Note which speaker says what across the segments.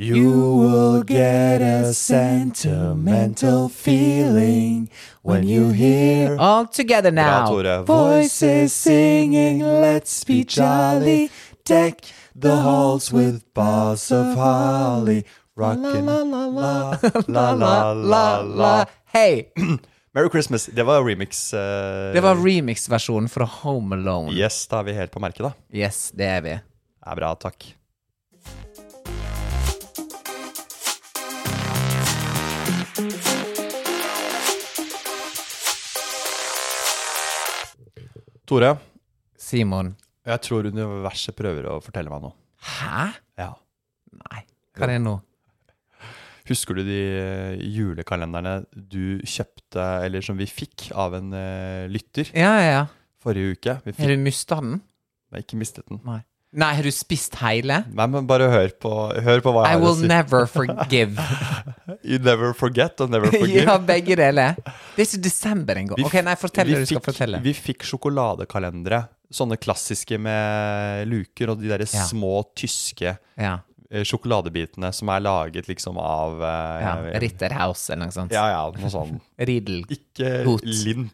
Speaker 1: You will get a sentimental feeling when you hear
Speaker 2: All together
Speaker 1: Bra,
Speaker 2: now.
Speaker 1: Tore. Voices singing, let's be jolly. Deck the halls with boughs of holly. Rockin' la la la la la la la.
Speaker 2: Hei!
Speaker 1: Merry Christmas. Det var remix. eh,
Speaker 2: Det var remix-versjonen fra Home Alone.
Speaker 1: Yes, da er vi helt på merket, da.
Speaker 2: Yes, det er vi.
Speaker 1: Det er bra, takk. Tore,
Speaker 2: Simon.
Speaker 1: jeg tror universet prøver å fortelle meg noe.
Speaker 2: Hæ?
Speaker 1: Ja.
Speaker 2: Nei. Hva er det nå?
Speaker 1: Husker du de eh, julekalenderne du kjøpte, eller som vi fikk av en eh, lytter
Speaker 2: Ja, ja, ja.
Speaker 1: forrige uke? Vi fikk,
Speaker 2: Har du mista den?
Speaker 1: Nei, ikke mistet den.
Speaker 2: Nei. Nei, har du spist hele?
Speaker 1: Nei, men bare hør på, hør på hva
Speaker 2: I
Speaker 1: jeg har å
Speaker 2: will
Speaker 1: si.
Speaker 2: never forgive.
Speaker 1: You never forget and never forgive.
Speaker 2: ja, begge deler. Det er ikke desember engang.
Speaker 1: Vi
Speaker 2: Ok, nei, fortell
Speaker 1: vi
Speaker 2: det du skal
Speaker 1: fikk-
Speaker 2: fortelle.
Speaker 1: Vi fikk sjokoladekalendere. Sånne klassiske med luker og de derre
Speaker 2: Ja.
Speaker 1: små tyske
Speaker 2: Ja.
Speaker 1: eh, sjokoladebitene som er laget liksom av eh,
Speaker 2: ja.
Speaker 1: jeg vet-
Speaker 2: Ritterhouse eller noe sånt.
Speaker 1: ja, ja, noe sånn.
Speaker 2: Riddel.
Speaker 1: Ikke
Speaker 2: Hot.
Speaker 1: lint,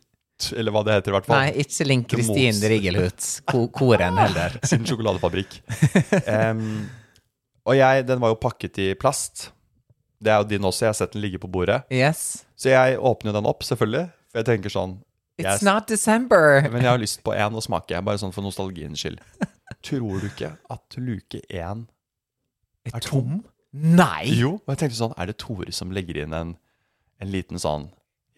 Speaker 1: eller hva det heter i hvert fall.
Speaker 2: Nei, ikke Linn
Speaker 1: Det mos.
Speaker 2: Kristin Rigelhut. Ko- Koren heller.
Speaker 1: Sin sjokoladefabrikk. Em, og jeg, den var jo pakket i plast. Det er jo din også, jeg har sett den ligge på bordet.
Speaker 2: Yes.
Speaker 1: Så jeg åpner jo den opp, selvfølgelig. For jeg tenker sånn
Speaker 2: It's
Speaker 1: jeg-
Speaker 2: not December.
Speaker 1: Men jeg har lyst på én å smake, bare sånn for nostalgiens skyld. Tror du ikke at luke én
Speaker 2: Er
Speaker 1: Er tom?
Speaker 2: tom? Nei!
Speaker 1: Jo, og jeg tenkte sånn, er det Tore som legger inn en, en liten sånn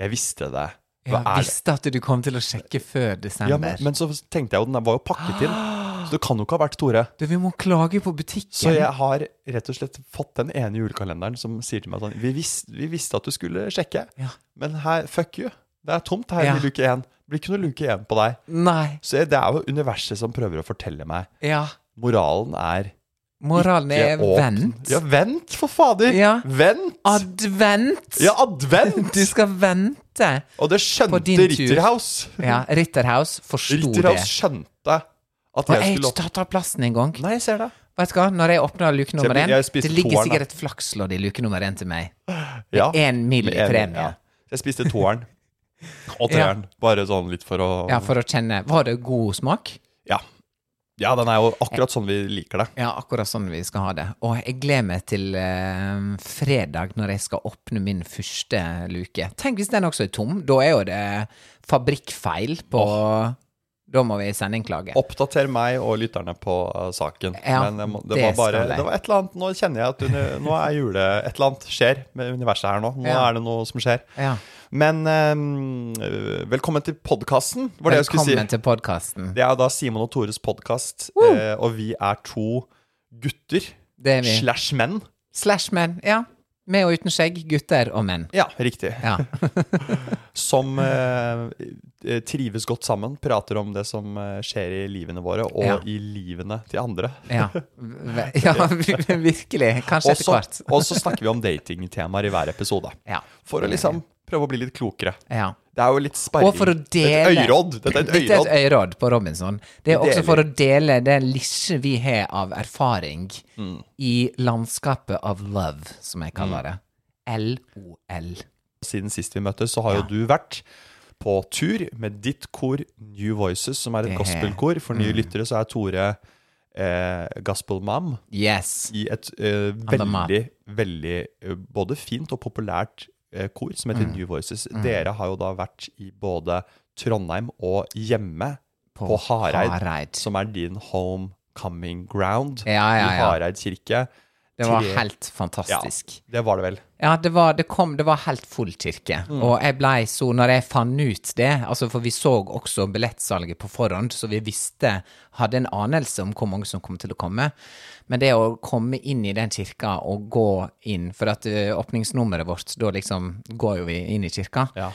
Speaker 1: Jeg visste det. Hva
Speaker 2: Jeg
Speaker 1: er det?
Speaker 2: visste at du kom til å sjekke før
Speaker 1: Ja,
Speaker 2: desember.
Speaker 1: men, men så tenkte jeg jo, den var jo pakket inn,
Speaker 2: Ah.
Speaker 1: så det kan jo ikke ha vært Tore.
Speaker 2: Du, vi må klage på butikken.
Speaker 1: Så jeg har rett og slett fått den ene julekalenderen som sier til meg sånn Vi, vis, vi visste at du skulle sjekke,
Speaker 2: Ja.
Speaker 1: men her, fuck you. Det er tomt her
Speaker 2: Ja.
Speaker 1: i luke én. Det blir ikke noe luke én på deg.
Speaker 2: Nei.
Speaker 1: Så jeg, det er jo universet som prøver å fortelle meg.
Speaker 2: Ja.
Speaker 1: Moralen er
Speaker 2: Moralen er
Speaker 1: Ikke åpn.
Speaker 2: vent.
Speaker 1: Ja, vent, for fader!
Speaker 2: Ja.
Speaker 1: Vent!
Speaker 2: Advent!
Speaker 1: ja, advent!
Speaker 2: Du skal vente.
Speaker 1: Og det
Speaker 2: På
Speaker 1: skjønte
Speaker 2: din tur.
Speaker 1: Ritterhaus.
Speaker 2: Ja, Ritterhaus forsto
Speaker 1: Ritterhaus
Speaker 2: det.
Speaker 1: skjønte at
Speaker 2: Og
Speaker 1: jeg
Speaker 2: jeg har
Speaker 1: skulle
Speaker 2: ikke
Speaker 1: opp...
Speaker 2: tatt av plassen engang.
Speaker 1: Nei, jeg ser det.
Speaker 2: Vet du hva, når jeg åpner luke nummer
Speaker 1: Så jeg-
Speaker 2: én
Speaker 1: jeg spiste
Speaker 2: Det ligger
Speaker 1: toeren, da.
Speaker 2: sikkert et flakslodd i luke nummer én til meg.
Speaker 1: Ja.
Speaker 2: Én mil
Speaker 1: Med
Speaker 2: i
Speaker 1: en-
Speaker 2: premie.
Speaker 1: ja. Jeg spiste toeren. Og treeren. Bare sånn litt for å
Speaker 2: Ja, for å kjenne Var det god smak?
Speaker 1: ja. Ja, den er jo akkurat sånn vi liker det.
Speaker 2: Ja, akkurat sånn vi skal ha det. Og jeg gleder meg til eh, fredag, når jeg skal åpne min første luke. Tenk hvis den også er tom. Da er jo det fabrikkfeil på Da må vi sende inn klage.
Speaker 1: Oppdater meg og lytterne på eh, saken.
Speaker 2: Ja,
Speaker 1: Men jeg må, det,
Speaker 2: det
Speaker 1: var bare
Speaker 2: skal jeg.
Speaker 1: Det var et eller annet Nå kjenner jeg at uni, nå er jule Et eller annet skjer med universet her nå. Nå
Speaker 2: Ja.
Speaker 1: er det noe som skjer.
Speaker 2: Ja.
Speaker 1: Men eh, velkommen til podkasten, var det jeg skulle si.
Speaker 2: Velkommen til podkasten.
Speaker 1: Det er jo da Simon og Tores podkast, eh, og vi er to gutter
Speaker 2: Det er vi.
Speaker 1: slash menn.
Speaker 2: Slash menn. Ja. Med og uten skjegg. Gutter og menn.
Speaker 1: Ja, riktig.
Speaker 2: Ja.
Speaker 1: Som eh, eh, trives godt sammen, prater om det som eh, skjer i livene våre, og
Speaker 2: Ja.
Speaker 1: i livene til andre.
Speaker 2: Ja, Ve- ja virkelig. Kanskje
Speaker 1: Og
Speaker 2: etter
Speaker 1: så
Speaker 2: hvert.
Speaker 1: og så snakker vi om datingtemaer i hver episode.
Speaker 2: Ja.
Speaker 1: For å liksom prøve å bli litt klokere.
Speaker 2: Ja.
Speaker 1: Det er jo litt sparring.
Speaker 2: Og for å
Speaker 1: Et
Speaker 2: dele
Speaker 1: øyråd. Dette er et
Speaker 2: Dette
Speaker 1: øyråd.
Speaker 2: er et øyråd på Robinson. Det er
Speaker 1: Vi
Speaker 2: også for å dele det lille vi har av erfaring i landskapet av love, som jeg kaller det. LOL.
Speaker 1: Siden sist vi møttes, så har jo du vært på tur med ditt kor New Voices, som er et
Speaker 2: Det- Mm.
Speaker 1: gospelkor. For nye lyttere så er Tore eh, gospel mom
Speaker 2: Yes.
Speaker 1: i et eh,
Speaker 2: mom.
Speaker 1: veldig, veldig eh, både fint og populært eh, kor som heter
Speaker 2: Mm.
Speaker 1: New Voices. Dere har jo da vært i både Trondheim og hjemme på, Hareid,
Speaker 2: Hareid.
Speaker 1: som er din homecoming ground
Speaker 2: Ja, ja,
Speaker 1: i
Speaker 2: ja.
Speaker 1: Hareid kirke.
Speaker 2: Det var
Speaker 1: Tre.
Speaker 2: helt fantastisk.
Speaker 1: Det var det vel.
Speaker 2: Ja, det var, det kom, det var helt full kirke.
Speaker 1: Mm.
Speaker 2: Og jeg blei så Når jeg fant ut det, altså for vi så også billettsalget på forhånd, så vi visste Hadde en anelse om hvor mange som kom til å komme. Men det å komme inn i den kirka og gå inn For at ø, åpningsnummeret vårt, da liksom går jo vi inn i kirka.
Speaker 1: Ja.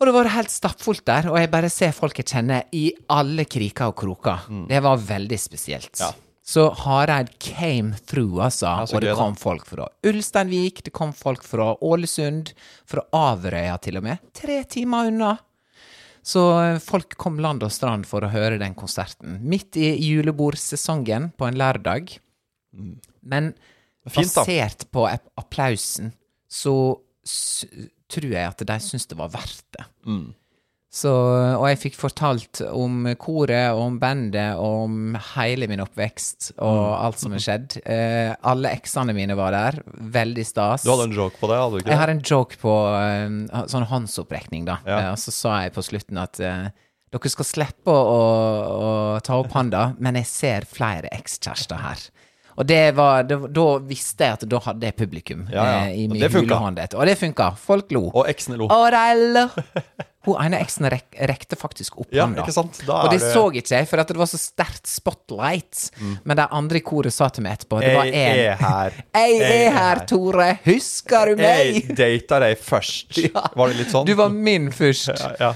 Speaker 2: Og det var helt stappfullt der, og jeg bare ser folk jeg kjenner i alle kriker og kroker. Det var veldig spesielt.
Speaker 1: Mm. Ja.
Speaker 2: Så Hareid came through, altså.
Speaker 1: Ja, så
Speaker 2: og det
Speaker 1: gøy, da.
Speaker 2: kom folk fra Ulsteinvik, det kom folk fra Ålesund, fra Averøya til og med. Tre timer unna. Så eh, folk kom land og strand for å høre den konserten. Midt i julebordsesongen på en lørdag. Men
Speaker 1: Mm. Fint, da.
Speaker 2: basert på app- applausen, så s tror jeg at de syns det var verdt det. Så, og jeg fikk fortalt om koret og om bandet og om hele min oppvekst og
Speaker 1: Mm.
Speaker 2: alt som har skjedd. Eh, alle eksene mine var der. Veldig stas.
Speaker 1: Du hadde en joke på det, hadde du ikke?
Speaker 2: Jeg
Speaker 1: det?
Speaker 2: har en joke på eh, sånn håndsopprekning, da.
Speaker 1: Ja.
Speaker 2: Eh, og så sa jeg på slutten at eh, dere skal slippe å, å ta opp hånda, men jeg ser flere ekskjærester her. Og det var, det, da visste jeg at da hadde jeg publikum
Speaker 1: Ja, ja.
Speaker 2: eh, i
Speaker 1: Og
Speaker 2: min
Speaker 1: det funka.
Speaker 2: julehåndhet. Og det funka. Folk lo.
Speaker 1: Og E eksene lo.
Speaker 2: Og de lo. Hun ene eksen rek rekte faktisk opp
Speaker 1: Ja,
Speaker 2: hånda.
Speaker 1: ikke sant? Da
Speaker 2: og
Speaker 1: er
Speaker 2: det
Speaker 1: det- Mm.
Speaker 2: så ikke jeg, for at det var så sterkt spotlight. Men de andre i koret sa til meg etterpå Det var
Speaker 1: Jeg
Speaker 2: en
Speaker 1: er her.
Speaker 2: Jeg er
Speaker 1: Jeg er
Speaker 2: her,
Speaker 1: her.
Speaker 2: Tore! Husker du
Speaker 1: Jeg
Speaker 2: meg?
Speaker 1: data deg først. Var det litt sånn?
Speaker 2: Du var min først.
Speaker 1: ja, ja.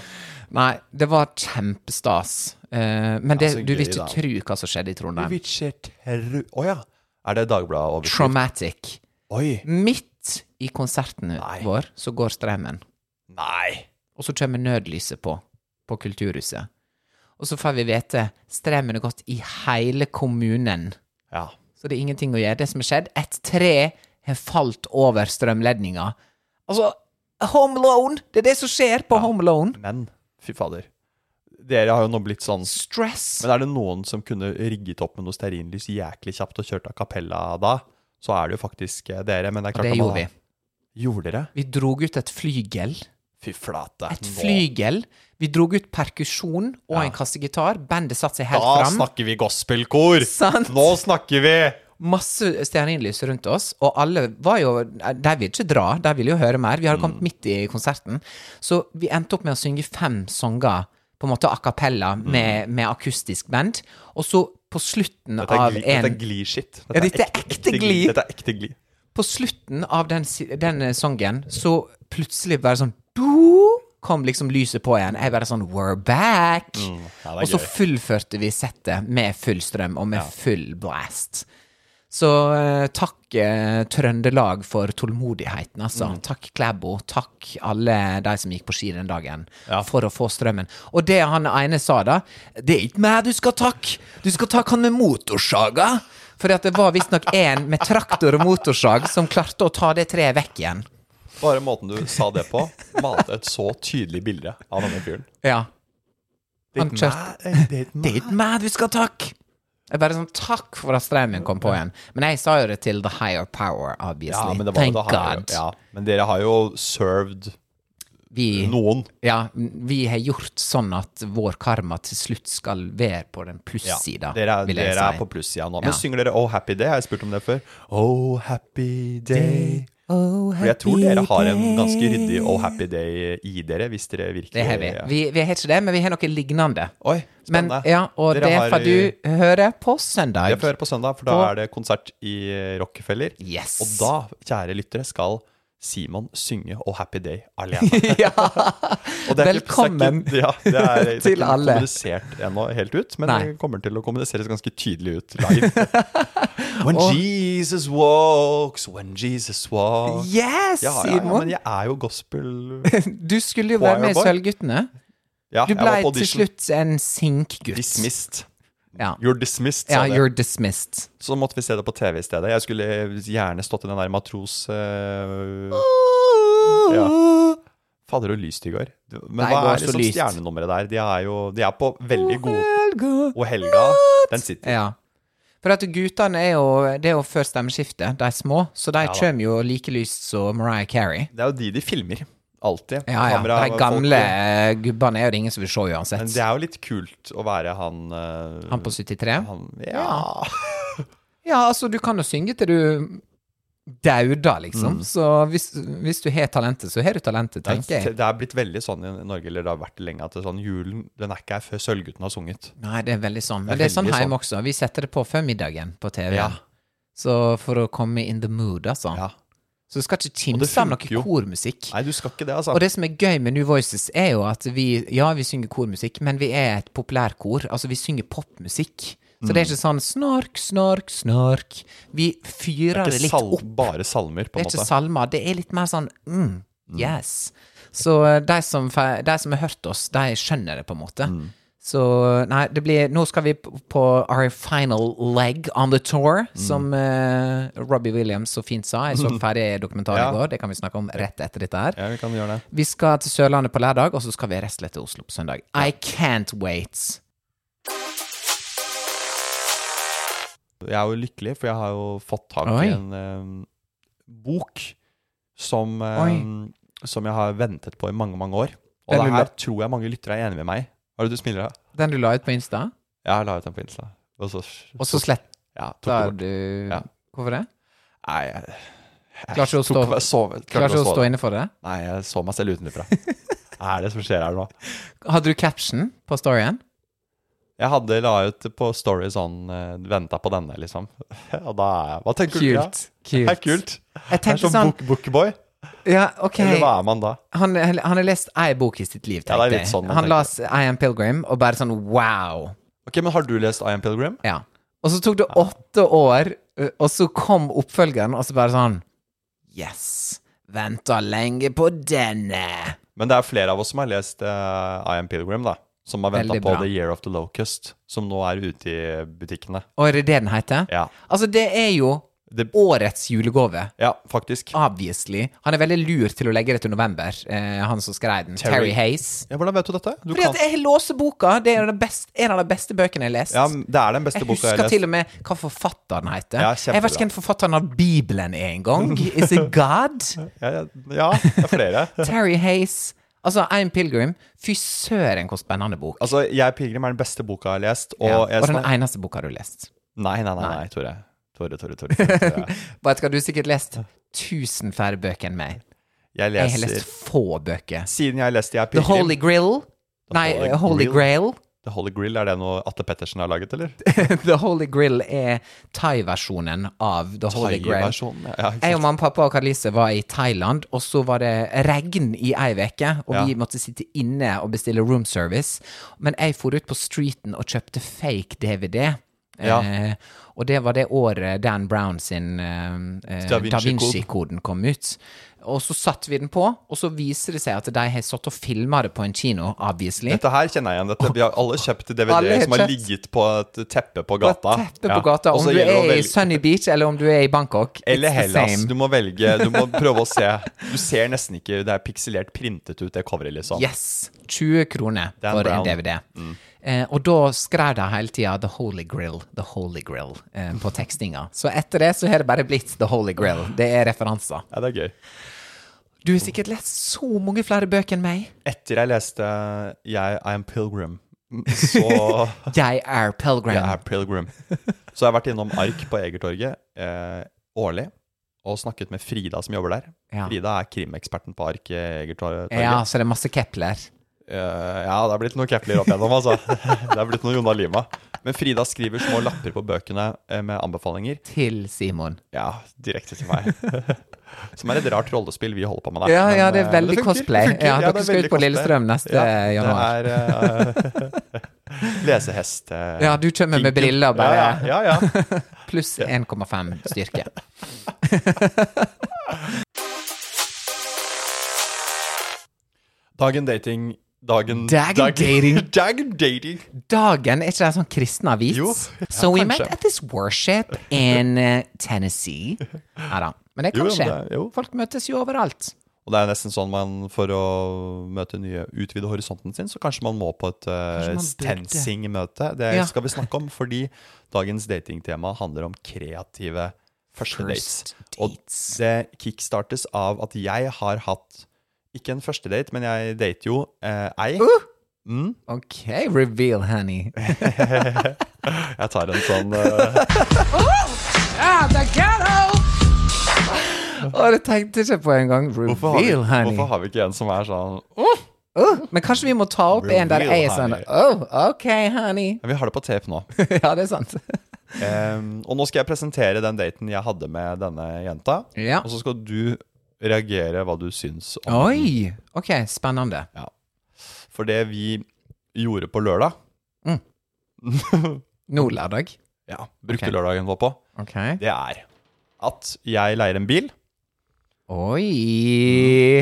Speaker 2: Nei, det var kjempestas. Eh, men det,
Speaker 1: Ja, så
Speaker 2: du vil
Speaker 1: gøy,
Speaker 2: ikke
Speaker 1: da.
Speaker 2: tro hva som skjedde i Trondheim.
Speaker 1: Witcher terru... Å ja. Er det Dagbladet over?
Speaker 2: Traumatic.
Speaker 1: Oi.
Speaker 2: Midt i konserten
Speaker 1: Nei.
Speaker 2: vår så går strømmen,
Speaker 1: Nei.
Speaker 2: og så kommer nødlyset på på Kulturhuset. Og så får vi vite strømmen har gått i hele kommunen.
Speaker 1: Ja.
Speaker 2: Så det er ingenting å gjøre. Det som har skjedd, et tre har falt over strømledninga. Altså, Home Loan! Det er det som skjer på Home Loan.
Speaker 1: Men fy fader. Dere har jo nå blitt sånn
Speaker 2: Stress.
Speaker 1: Men er det noen som kunne rigget opp med noe stearinlys jæklig kjapt og kjørt a cappella da, så er det jo faktisk eh, dere. Men det er
Speaker 2: Og
Speaker 1: klart
Speaker 2: det
Speaker 1: at man-
Speaker 2: gjorde vi.
Speaker 1: Gjorde dere?
Speaker 2: Vi drog ut et flygel.
Speaker 1: Fy flate.
Speaker 2: Et flygel. Vi drog ut perkusjon og en kassegitar. Bandet satte seg
Speaker 1: Nå,
Speaker 2: helt
Speaker 1: da
Speaker 2: fram.
Speaker 1: snakker vi gospelkor!
Speaker 2: Sant.
Speaker 1: Nå snakker vi!
Speaker 2: Masse stearinlys rundt oss, og alle var jo De vil ikke dra, de vil jo høre mer. Vi hadde
Speaker 1: Mm.
Speaker 2: kommet midt i konserten. Så vi endte opp med å synge fem sanger, på en måte a cappella,
Speaker 1: Mm.
Speaker 2: med, med akustisk band. Og så på slutten
Speaker 1: Dette er,
Speaker 2: av
Speaker 1: gli,
Speaker 2: en
Speaker 1: dette er gli-shit.
Speaker 2: Ja, dette er ekte gli.
Speaker 1: Dette er ekte gli.
Speaker 2: på slutten av den, si- den eh, sangen, så plutselig bare sånn du, Kom liksom lyset på igjen. Jeg bare sånn We're back!
Speaker 1: Mm, ja, det er
Speaker 2: og så
Speaker 1: gøy.
Speaker 2: fullførte vi settet med full strøm og med full blast. Så eh, takk eh, Trøndelag for tålmodigheten, altså.
Speaker 1: Mm.
Speaker 2: Takk Klæbo. Takk alle de som gikk på ski den dagen for å få strømmen. Og det han ene sa da, det er ikke meg du skal takke, du skal takke han med motorsaga. For at det var visstnok en med traktor og motorsag som klarte å ta det treet vekk igjen.
Speaker 1: Bare måten du sa det på, malte et så tydelig bilde av denne fyren.
Speaker 2: Ja. Han
Speaker 1: Ditt
Speaker 2: kjørte-
Speaker 1: mæ- ditt
Speaker 2: Det er ikke meg du skal takke! Jeg bare sånn Takk for at strømmen kom på igjen. Men jeg sa jo det til the higher power, obviously.
Speaker 1: Ja, men det var
Speaker 2: Thank
Speaker 1: jo det har
Speaker 2: God.
Speaker 1: jo- Ja, men dere har jo served
Speaker 2: Vi,
Speaker 1: noen.
Speaker 2: ja, vi har gjort sånn at vår karma til slutt skal være på den
Speaker 1: Ja,
Speaker 2: plussida,
Speaker 1: dere er,
Speaker 2: vil jeg
Speaker 1: dere er
Speaker 2: si.
Speaker 1: på plussida nå.
Speaker 2: Ja.
Speaker 1: Men synger dere Oh Happy Day? Jeg har spurt om det før. Oh Happy Day. For jeg tror dere har en ganske ryddig Oh Happy Day i dere, hvis dere virkelig
Speaker 2: Det har vi.
Speaker 1: Ja.
Speaker 2: vi. Vi har ikke det, men vi har noe lignende.
Speaker 1: Oi,
Speaker 2: Men,
Speaker 1: spennende.
Speaker 2: ja, og
Speaker 1: Dere
Speaker 2: det
Speaker 1: har- eh,
Speaker 2: får du høre på
Speaker 1: Det
Speaker 2: søndag.
Speaker 1: får jeg høre på søndag, for da
Speaker 2: På-
Speaker 1: er det konsert i eh, Rockefeller.
Speaker 2: Yes.
Speaker 1: Og da, kjære lyttere, skal Simon synge Oh Happy Day alene.
Speaker 2: ja.
Speaker 1: Og det er ikke-
Speaker 2: Velkommen
Speaker 1: det er ikke- ja, det er, det er
Speaker 2: til
Speaker 1: ikke
Speaker 2: alle.
Speaker 1: kommunisert ennå helt ut, men
Speaker 2: Nei.
Speaker 1: det kommer til å kommuniseres ganske tydelig ut live. When Jesus walks, when Jesus walks
Speaker 2: Yes,
Speaker 1: ja, ja, ja,
Speaker 2: Simon!
Speaker 1: men jeg er jo gospel
Speaker 2: Du skulle jo være med i
Speaker 1: Choirboy.
Speaker 2: Sølvguttene.
Speaker 1: ja,
Speaker 2: Du
Speaker 1: jeg
Speaker 2: ble
Speaker 1: var på
Speaker 2: til
Speaker 1: audition.
Speaker 2: slutt en sinkgutt.
Speaker 1: Dismissed.
Speaker 2: Ja.
Speaker 1: You're dismissed,
Speaker 2: ja,
Speaker 1: sa det.
Speaker 2: you're dismissed.
Speaker 1: Så måtte vi se det på TV i stedet. Jeg skulle gjerne stått i den der matros... eh, ja. Fader, og lyst i går. Men
Speaker 2: Nei, det
Speaker 1: hva
Speaker 2: var
Speaker 1: er
Speaker 2: så
Speaker 1: liksom
Speaker 2: lyst.
Speaker 1: stjernenummeret der? De er jo de er på veldig gode
Speaker 2: Helga.
Speaker 1: Og Helga, den sitter.
Speaker 2: Ja. For at guttene er jo Det er jo før stemmeskiftet, de er små, så de
Speaker 1: da.
Speaker 2: kommer jo like lyst som Mariah Carey.
Speaker 1: Det er jo de de filmer. Alltid.
Speaker 2: Ja, ja.
Speaker 1: Kamera-
Speaker 2: de gamle
Speaker 1: folk-
Speaker 2: eh, gubbene er jo det ingen som vil se
Speaker 1: Men
Speaker 2: uansett.
Speaker 1: det er jo litt kult å være han eh,
Speaker 2: Han på 73?
Speaker 1: han- ja.
Speaker 2: Ja, Ja, altså, du kan jo synge til du dauder, liksom.
Speaker 1: Mm.
Speaker 2: Så hvis, hvis du har talentet, så har du talentet, tenker jeg.
Speaker 1: Det er blitt veldig sånn i Norge, eller det har vært det lenge, at det er sånn, julen den er ikke her før Sølvgutten har sunget.
Speaker 2: Nei, det er veldig sånn.
Speaker 1: Det er
Speaker 2: Men det er sånn
Speaker 1: veldig
Speaker 2: hjemme også. Vi setter det på før middagen på TV.
Speaker 1: Ja.
Speaker 2: Så for å komme in the mood, altså.
Speaker 1: Ja.
Speaker 2: Så du skal ikke
Speaker 1: det
Speaker 2: kimse av
Speaker 1: funker
Speaker 2: noe
Speaker 1: jo.
Speaker 2: kormusikk.
Speaker 1: Nei, du skal ikke det, altså.
Speaker 2: Og det som er gøy med New Voices, er jo at vi Ja, vi synger kormusikk, men vi er et populærkor. Altså, vi synger popmusikk. Så det er ikke sånn snork, snork, snork. Vi fyrer det,
Speaker 1: ikke
Speaker 2: litt
Speaker 1: sal
Speaker 2: opp.
Speaker 1: bare salmer, på
Speaker 2: Det
Speaker 1: en
Speaker 2: er ikke
Speaker 1: måte.
Speaker 2: salmer. Det er litt mer sånn mm, yes. Så eh, de som, fe- de som har hørt oss, de skjønner det, på en måte.
Speaker 1: Mm.
Speaker 2: Så nei, det blir Nå skal vi p- på our final leg on the tour,
Speaker 1: Mm.
Speaker 2: som eh, Robbie Williams så fint sa. Jeg så ferdig dokumentar i
Speaker 1: Ja.
Speaker 2: går, det kan vi snakke om rett etter dette her.
Speaker 1: Ja, vi kan gjøre det.
Speaker 2: Vi skal til Sørlandet på lørdag, og så skal vi rett og slett til Oslo på søndag. I can't wait.
Speaker 1: Jeg er jo lykkelig, for jeg har jo fått tak
Speaker 2: Oi.
Speaker 1: i en eh, bok som, eh,
Speaker 2: Oi.
Speaker 1: som jeg har ventet på i mange, mange år. Og
Speaker 2: Den
Speaker 1: det
Speaker 2: du
Speaker 1: her
Speaker 2: la-
Speaker 1: tror jeg mange lyttere er enig med meg. Har du du smiler av?
Speaker 2: Den du la ut på Insta,
Speaker 1: Jeg la ut den på Insta. Og så,
Speaker 2: og så sletta
Speaker 1: ja, tok det bort.
Speaker 2: du
Speaker 1: Ja.
Speaker 2: Hvorfor det?
Speaker 1: Nei, jeg, jeg
Speaker 2: Klarer ikke å
Speaker 1: tok
Speaker 2: stå-
Speaker 1: meg- så-
Speaker 2: Klarer
Speaker 1: ikke
Speaker 2: ikke å stå inne for det?
Speaker 1: Nei, jeg så meg selv utenfra. Hva er det som skjer her nå?
Speaker 2: Hadde du caption på storyen?
Speaker 1: Jeg hadde la ut på Story sånn Venta på denne, liksom. Og da er jeg Hva tenker du?
Speaker 2: Kult.
Speaker 1: Ja? Det
Speaker 2: Kult.
Speaker 1: er kult.
Speaker 2: Jeg
Speaker 1: Det er
Speaker 2: tenkte
Speaker 1: som
Speaker 2: sånn
Speaker 1: book, bookboy.
Speaker 2: Ja, ok.
Speaker 1: Eller hva er man da?
Speaker 2: Han, han har lest ei bok i sitt liv,
Speaker 1: Ja, det er
Speaker 2: tenkte
Speaker 1: litt
Speaker 2: jeg.
Speaker 1: sånn man
Speaker 2: han
Speaker 1: tenker.
Speaker 2: las I Am Pilgrim, og bare sånn wow.
Speaker 1: Ok, men Har du lest I Am Pilgrim?
Speaker 2: Ja. Og så tok det åtte år, ø, og så kom oppfølgeren, og så bare sånn Yes. Venta lenge på denne.
Speaker 1: Men det er flere av oss som har lest eh, I Am Pilgrim, da. Som har venta
Speaker 2: Veldig
Speaker 1: på
Speaker 2: bra.
Speaker 1: The Year of the Locust, som nå er ute i butikkene.
Speaker 2: Og er det det den heter?
Speaker 1: Ja,
Speaker 2: Altså, det er jo
Speaker 1: Det-
Speaker 2: årets julegave.
Speaker 1: ja faktisk.
Speaker 2: Ah. Obviously. Han er veldig lur til å legge det til november, eh, han som skrev den.
Speaker 1: Terry.
Speaker 2: Terry, Hayes.
Speaker 1: Ja, hvordan vet du dette? Du
Speaker 2: Fordi at
Speaker 1: kan...
Speaker 2: jeg låser boka. Det er jo den best- en av de beste bøkene jeg har lest.
Speaker 1: Ja, Det er den beste
Speaker 2: jeg
Speaker 1: boka jeg
Speaker 2: husker
Speaker 1: har lest.
Speaker 2: til og med hva forfatteren heter.
Speaker 1: Ja, kjempebra.
Speaker 2: jeg vet ikke hvem forfatteren av Bibelen er engang. Is it God?
Speaker 1: Ja, ja, ja, det er flere.
Speaker 2: Terry Hayes. Altså, I'm Pilgrim. Fy søren, hvor spennende bok.
Speaker 1: altså, Jeg Pilgrim er den beste boka jeg har lest, og
Speaker 2: ja.
Speaker 1: jeg
Speaker 2: og den
Speaker 1: snak-
Speaker 2: eneste boka du har lest.
Speaker 1: Nei, nei, nei, nei, Tore. Tore, Tore, Tore. Tore, Tore.
Speaker 2: Bare skal du sikkert lest tusen færre bøker enn meg.
Speaker 1: Jeg
Speaker 2: Jeg har lest
Speaker 1: leser
Speaker 2: få bøker.
Speaker 1: Siden jeg leste Jeg
Speaker 2: The
Speaker 1: Pilgrim
Speaker 2: Holy Grill.
Speaker 1: The
Speaker 2: Nei,
Speaker 1: Holy
Speaker 2: Holy, Grail.
Speaker 1: The Holy Grill, er det noe Atte Pettersen har laget, eller?
Speaker 2: The Holy Grill er thai-versjonen av The Holy Grail.
Speaker 1: Thai-versjonen, ja, ikke
Speaker 2: Jeg
Speaker 1: sant?
Speaker 2: og mamma, pappa og Karlise var i Thailand, og så var det regn i ei uke. Og
Speaker 1: Ja.
Speaker 2: vi måtte sitte inne og bestille room service. Men jeg for ut på streeten og kjøpte fake DVD.
Speaker 1: Ja.
Speaker 2: Eh, og det var det året Dan Brown sin eh, eh,
Speaker 1: Da
Speaker 2: Da
Speaker 1: Vinci-kod.
Speaker 2: Vinci-koden kom ut. Og så satte vi den på, og så viser det seg at de har satt og filma det på en kino, obviously.
Speaker 1: Dette her kjenner jeg igjen. Dette. Vi har alle kjøpt
Speaker 2: Eh? Alle
Speaker 1: DVD
Speaker 2: har
Speaker 1: som har
Speaker 2: kjøpt.
Speaker 1: ligget på et teppe på
Speaker 2: På et
Speaker 1: gata.
Speaker 2: teppe
Speaker 1: Ja.
Speaker 2: på gata.
Speaker 1: Og
Speaker 2: Om
Speaker 1: så
Speaker 2: du
Speaker 1: gjelder det å
Speaker 2: er i
Speaker 1: velge-
Speaker 2: Sunny Beach, eller om du er i Bangkok.
Speaker 1: Eller
Speaker 2: it's the
Speaker 1: Hellas.
Speaker 2: same.
Speaker 1: Du må velge. Du må prøve å se. Du ser nesten ikke Det er pikselert printet ut, det coveret, liksom.
Speaker 2: Yes. 20 kroner
Speaker 1: Dan
Speaker 2: for
Speaker 1: Brown. Mm.
Speaker 2: en DVD. Eh, og da skrev de hele tida 'The Holy Grill', 'The Holy Grill' eh, på tekstinga. Så etter det så har det bare blitt 'The Holy Grill'. Det er referanser.
Speaker 1: Ja, det er gøy.
Speaker 2: Du har sikkert lest så mange flere bøker enn meg.
Speaker 1: Etter jeg leste jeg, I Am Pilgrim, så
Speaker 2: Jeg er Pilgrim.
Speaker 1: Jeg er Pilgrim. Så jeg har vært innom Ark på Egertorget eh, årlig og snakket med Frida som jobber der.
Speaker 2: Ja.
Speaker 1: Frida er krimeksperten på Ark eh, Egertorget.
Speaker 2: Ja, så det er masse Kepler.
Speaker 1: Eh, ja, det er blitt noen Kepler opp igjennom, altså. Det er blitt noen Jonna Lima. Men Frida skriver små lapper på bøkene eh, med anbefalinger.
Speaker 2: Til Simon.
Speaker 1: Ja, direkte til meg. Som er et rart rollespill vi holder på med der.
Speaker 2: Ja,
Speaker 1: Men,
Speaker 2: ja, det er
Speaker 1: eh,
Speaker 2: veldig
Speaker 1: funker,
Speaker 2: cosplay.
Speaker 1: det funker.
Speaker 2: Ja,
Speaker 1: det
Speaker 2: dere
Speaker 1: er
Speaker 2: skal
Speaker 1: veldig
Speaker 2: ut på
Speaker 1: cosplay.
Speaker 2: Lillestrøm neste januar.
Speaker 1: Det er eh, lesehest. eh,
Speaker 2: Ja, du kommer med
Speaker 1: kinken.
Speaker 2: briller og bare
Speaker 1: Ja, ja. ja, ja.
Speaker 2: Pluss 1,5 styrke.
Speaker 1: Dagen dating Dagen
Speaker 2: Dagen
Speaker 1: dag-
Speaker 2: dating.
Speaker 1: Dagen dating.
Speaker 2: Dagen, er ikke det en sånn kristen avis?
Speaker 1: Jo, ja,
Speaker 2: so we
Speaker 1: kanskje.
Speaker 2: met at this worship in eh, Tennessee. Nei da. Men det
Speaker 1: Jo,
Speaker 2: kan
Speaker 1: men
Speaker 2: skje.
Speaker 1: det er- jo.
Speaker 2: Folk møtes jo overalt.
Speaker 1: Og det er nesten sånn man for å møte nye, utvide horisonten sin, så kanskje man må på et eh,
Speaker 2: man burde.
Speaker 1: TenSing-møte. Det
Speaker 2: Ja.
Speaker 1: skal vi snakke om, fordi dagens datingtema handler om kreative første dates.
Speaker 2: First
Speaker 1: Og
Speaker 2: dates.
Speaker 1: det kickstartes av at jeg har hatt ikke en første date, men jeg dater jo eh, ei.
Speaker 2: Uh! OK, reveal, honey.
Speaker 1: Jeg tar en sånn eh,
Speaker 2: Ah, Og det tenkte jeg ikke på engang.
Speaker 1: Hvorfor har, vi,
Speaker 2: Reveal, honey.
Speaker 1: hvorfor har vi ikke en som er sånn
Speaker 2: Åh, men kanskje vi må ta opp en der jeg er
Speaker 1: Reveal,
Speaker 2: sånn
Speaker 1: honey.
Speaker 2: Oh, OK, honey.
Speaker 1: Ja, Vi har det på tape nå.
Speaker 2: ja, det er sant.
Speaker 1: Em, og nå skal jeg presentere den daten jeg hadde med denne jenta.
Speaker 2: Ja.
Speaker 1: Og så skal du reagere hva du syns om
Speaker 2: Oi! OK, spennende.
Speaker 1: For det vi gjorde på lørdag
Speaker 2: Nå lørdag.
Speaker 1: Ja, brukte
Speaker 2: Ok.
Speaker 1: lørdagen vår på,
Speaker 2: OK.
Speaker 1: det er at jeg leier en bil.
Speaker 2: Oi!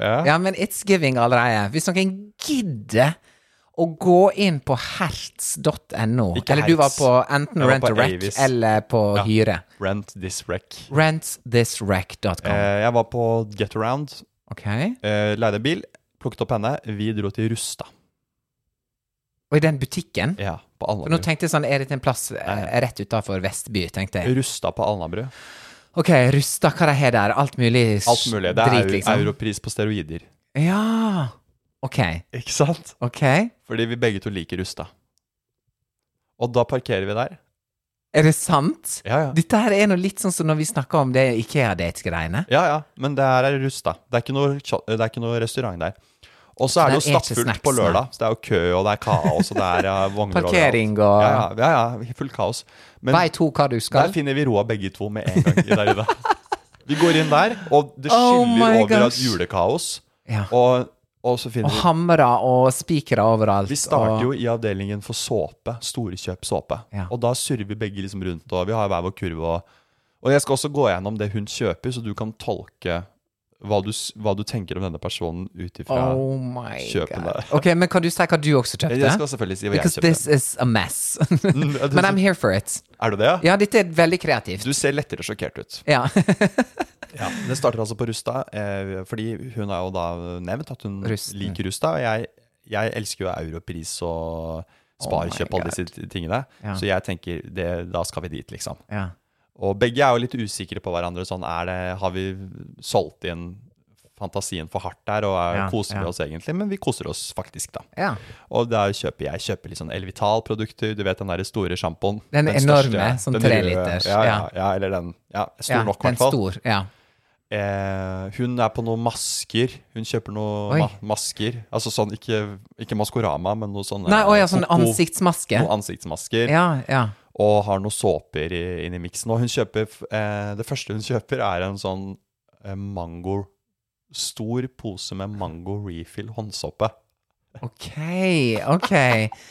Speaker 1: Ja.
Speaker 2: Ja, men it's giving allerede. Hvis noen gidder å gå inn på hertz.no
Speaker 1: Ikke
Speaker 2: Eller du var
Speaker 1: Hertz.
Speaker 2: på enten
Speaker 1: Jeg var
Speaker 2: Rent
Speaker 1: på
Speaker 2: a Wreck
Speaker 1: Avis.
Speaker 2: eller på
Speaker 1: Ja.
Speaker 2: hyre.
Speaker 1: Rent this wreck.
Speaker 2: Rentthiswreck.com.
Speaker 1: Eh, jeg var på Get Around,
Speaker 2: Ok.
Speaker 1: eh, leide en bil, plukket opp henne. Vi dro til Rusta.
Speaker 2: Og i den butikken
Speaker 1: Ja, på
Speaker 2: For nå
Speaker 1: Alnabru.
Speaker 2: tenkte jeg sånn, er det til en plass eh, rett utafor Vestby, tenkte jeg.
Speaker 1: Rusta på Alnabru.
Speaker 2: Ok, Rusta, hva de har der? Alt mulig s-
Speaker 1: Alt mulig. Det er
Speaker 2: drit,
Speaker 1: eu-
Speaker 2: liksom.
Speaker 1: europris på steroider.
Speaker 2: Ja. Ok,
Speaker 1: Ikke sant?
Speaker 2: ok.
Speaker 1: Fordi vi begge to liker Rusta. Og da parkerer vi der.
Speaker 2: Er det sant?
Speaker 1: Ja, ja.
Speaker 2: Dette her er noe litt sånn som når vi snakker om det Ikea-dates-greiene.
Speaker 1: Ja, ja, men det her er Rusta. Det er ikke noe, tja- det er ikke noe restaurant der. Og så
Speaker 2: Så
Speaker 1: er det
Speaker 2: der
Speaker 1: jo
Speaker 2: er ikke
Speaker 1: stappfullt på
Speaker 2: snacks, nei.
Speaker 1: lørdag, så det er jo kø, og det er kaos, og det er ja, vogner overalt.
Speaker 2: Parkering og
Speaker 1: ja, ja, ja, ja, fullt kaos. Men
Speaker 2: Vei to hva du
Speaker 1: der
Speaker 2: skal.
Speaker 1: finner vi roa begge to med en gang. I dag, Vi går inn der, og det
Speaker 2: Oh
Speaker 1: skyller
Speaker 2: my
Speaker 1: over av
Speaker 2: gosh.
Speaker 1: julekaos.
Speaker 2: Ja.
Speaker 1: Og, og så finner
Speaker 2: Og
Speaker 1: vi
Speaker 2: hamre og spikere overalt.
Speaker 1: Vi starter
Speaker 2: og...
Speaker 1: jo i avdelingen for såpe. Storkjøp såpe.
Speaker 2: Ja.
Speaker 1: Og da surrer vi begge liksom rundt, og vi har hver vår kurv. Og, og jeg skal også gå gjennom det hun kjøper, så du kan tolke hva du, s- hva du tenker om denne personen ut ifra
Speaker 2: Oh my
Speaker 1: Kjøpene.
Speaker 2: god. Ok, men kan du si hva du også kjøpte?
Speaker 1: Jeg skal selvfølgelig si hva jeg
Speaker 2: Because
Speaker 1: kjøpte. Mm,
Speaker 2: this is a mess.
Speaker 1: ja, det-
Speaker 2: Men I'm here for it.
Speaker 1: Er du det?
Speaker 2: Ja, dette er veldig kreativt.
Speaker 1: Du ser lettere sjokkert ut.
Speaker 2: Ja.
Speaker 1: Det starter altså på Rusta, eh, fordi hun har jo da nevnt at hun
Speaker 2: Rusten.
Speaker 1: liker Rusta. Og jeg, jeg elsker jo Europris og Sparekjøp og alle disse t- tingene.
Speaker 2: Oh Ja.
Speaker 1: Så jeg tenker det, da skal vi dit, liksom.
Speaker 2: ja.
Speaker 1: Og begge er jo litt usikre på hverandre. Sånn, er det, har vi solgt inn fantasien for hardt der, og er,
Speaker 2: Ja,
Speaker 1: koser
Speaker 2: ja.
Speaker 1: vi oss egentlig? Men vi koser oss faktisk, da.
Speaker 2: ja.
Speaker 1: Og der kjøper jeg kjøper litt sånn Elvital-produkter. Du vet den der store sjampoen.
Speaker 2: Den enorme, sånn
Speaker 1: den
Speaker 2: tre
Speaker 1: røde.
Speaker 2: liters,
Speaker 1: Ja, ja,
Speaker 2: ja.
Speaker 1: ja, eller den. Ja, stor
Speaker 2: ja.
Speaker 1: nok, i
Speaker 2: den
Speaker 1: hvert fall.
Speaker 2: stor. Ja.
Speaker 1: Eh, hun er på noen masker. Hun kjøper
Speaker 2: Oi.
Speaker 1: noen ma masker. Altså sånn, ikke, ikke Maskorama, men noe sånn
Speaker 2: Nei, å ja, sånn
Speaker 1: koko-
Speaker 2: ansiktsmaske.
Speaker 1: Noen ansiktsmasker
Speaker 2: Ja, ja.
Speaker 1: og har noen såper i- inni miksen. Og hun kjøper, f- eh, det første hun kjøper, er en sånn eh, mango Stor pose med mango refill håndsåpe.
Speaker 2: Ok, ok.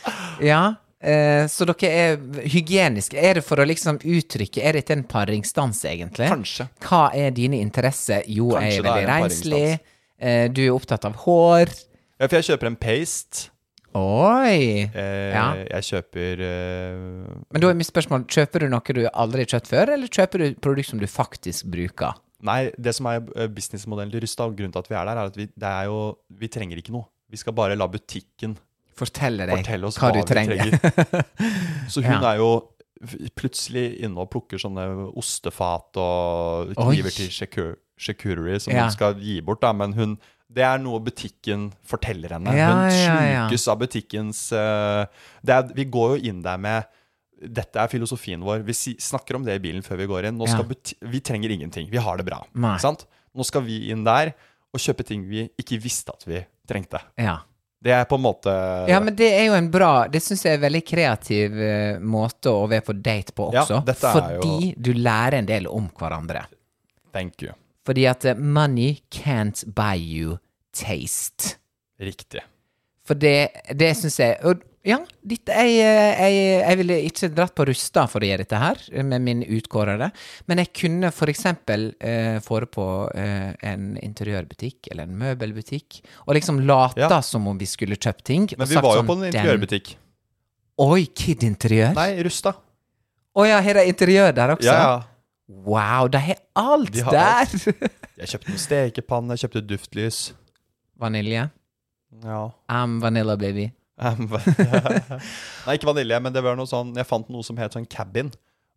Speaker 2: Ja. eh, så dere er hygieniske. Er det for å liksom uttrykke Er dette en paringsdans, egentlig?
Speaker 1: Kanskje.
Speaker 2: Hva er dine interesser? Jo,
Speaker 1: Kanskje
Speaker 2: jeg er
Speaker 1: det er
Speaker 2: veldig
Speaker 1: en
Speaker 2: renslig.
Speaker 1: paringsdans.
Speaker 2: eh, du er opptatt av hår.
Speaker 1: Ja, for jeg kjøper en paste.
Speaker 2: Oi!
Speaker 1: Eh,
Speaker 2: Ja.
Speaker 1: Jeg kjøper eh,
Speaker 2: Men da er mitt spørsmål Kjøper du noe du aldri har kjøpt før, eller kjøper du produkt som du faktisk bruker?
Speaker 1: Nei, det som er eh, businessmodellen til Rysta, og grunnen til at vi er der, er at vi, det er jo, vi trenger ikke noe. Vi skal bare la butikken
Speaker 2: Fortelle deg
Speaker 1: fortelle oss
Speaker 2: hva,
Speaker 1: hva,
Speaker 2: du trenger.
Speaker 1: vi trenger. Så hun
Speaker 2: Ja.
Speaker 1: er jo f- plutselig inne og plukker sånne ostefat og
Speaker 2: Oi.
Speaker 1: kniver til shakur- charcuterie som
Speaker 2: Ja.
Speaker 1: hun skal gi bort, da. Men hun det er noe butikken forteller henne.
Speaker 2: Ja,
Speaker 1: hun
Speaker 2: ja, ja.
Speaker 1: slukes av butikkens eh, det er, Vi går jo inn der med Dette er filosofien vår. Vi si, snakker om det i bilen før vi går inn. Nå
Speaker 2: Ja.
Speaker 1: skal buti vi trenger ingenting. Vi har det bra.
Speaker 2: Nei.
Speaker 1: Ikke Sant? Nå skal vi inn der og kjøpe ting vi ikke visste at vi trengte.
Speaker 2: Ja.
Speaker 1: Det er på en måte
Speaker 2: ja, men det er jo en bra Det syns jeg er en veldig kreativ eh, måte å være på date på
Speaker 1: Ja,
Speaker 2: også.
Speaker 1: dette er jo-
Speaker 2: fordi du lærer en del om hverandre.
Speaker 1: Thank you.
Speaker 2: Fordi at eh, money can't buy you taste.
Speaker 1: Riktig.
Speaker 2: For det, det syns jeg og, Ja, ditt, jeg, jeg, jeg ville ikke dratt på Rusta for å gjøre dette her, med min utkårede, men jeg kunne for eksempel eh, fått på eh, en interiørbutikk eller en møbelbutikk, og liksom lata
Speaker 1: Ja.
Speaker 2: som om vi skulle kjøpt ting. og
Speaker 1: Men vi
Speaker 2: sagt
Speaker 1: var jo
Speaker 2: sånn,
Speaker 1: på en interiørbutikk.
Speaker 2: Den, Oi, Kid Interiør?
Speaker 1: Nei, Rusta.
Speaker 2: Å ja, har de interiør der også?
Speaker 1: Ja, ja.
Speaker 2: Wow, de har alt
Speaker 1: De har alt.
Speaker 2: der!
Speaker 1: Jeg kjøpte en stekepanne, jeg kjøpte duftlys.
Speaker 2: Vanilje.
Speaker 1: Ja.
Speaker 2: I'm vanilla, baby.
Speaker 1: Em, Nei, ikke vanilje, men det var noe sånn Jeg fant noe som het sånn cabin,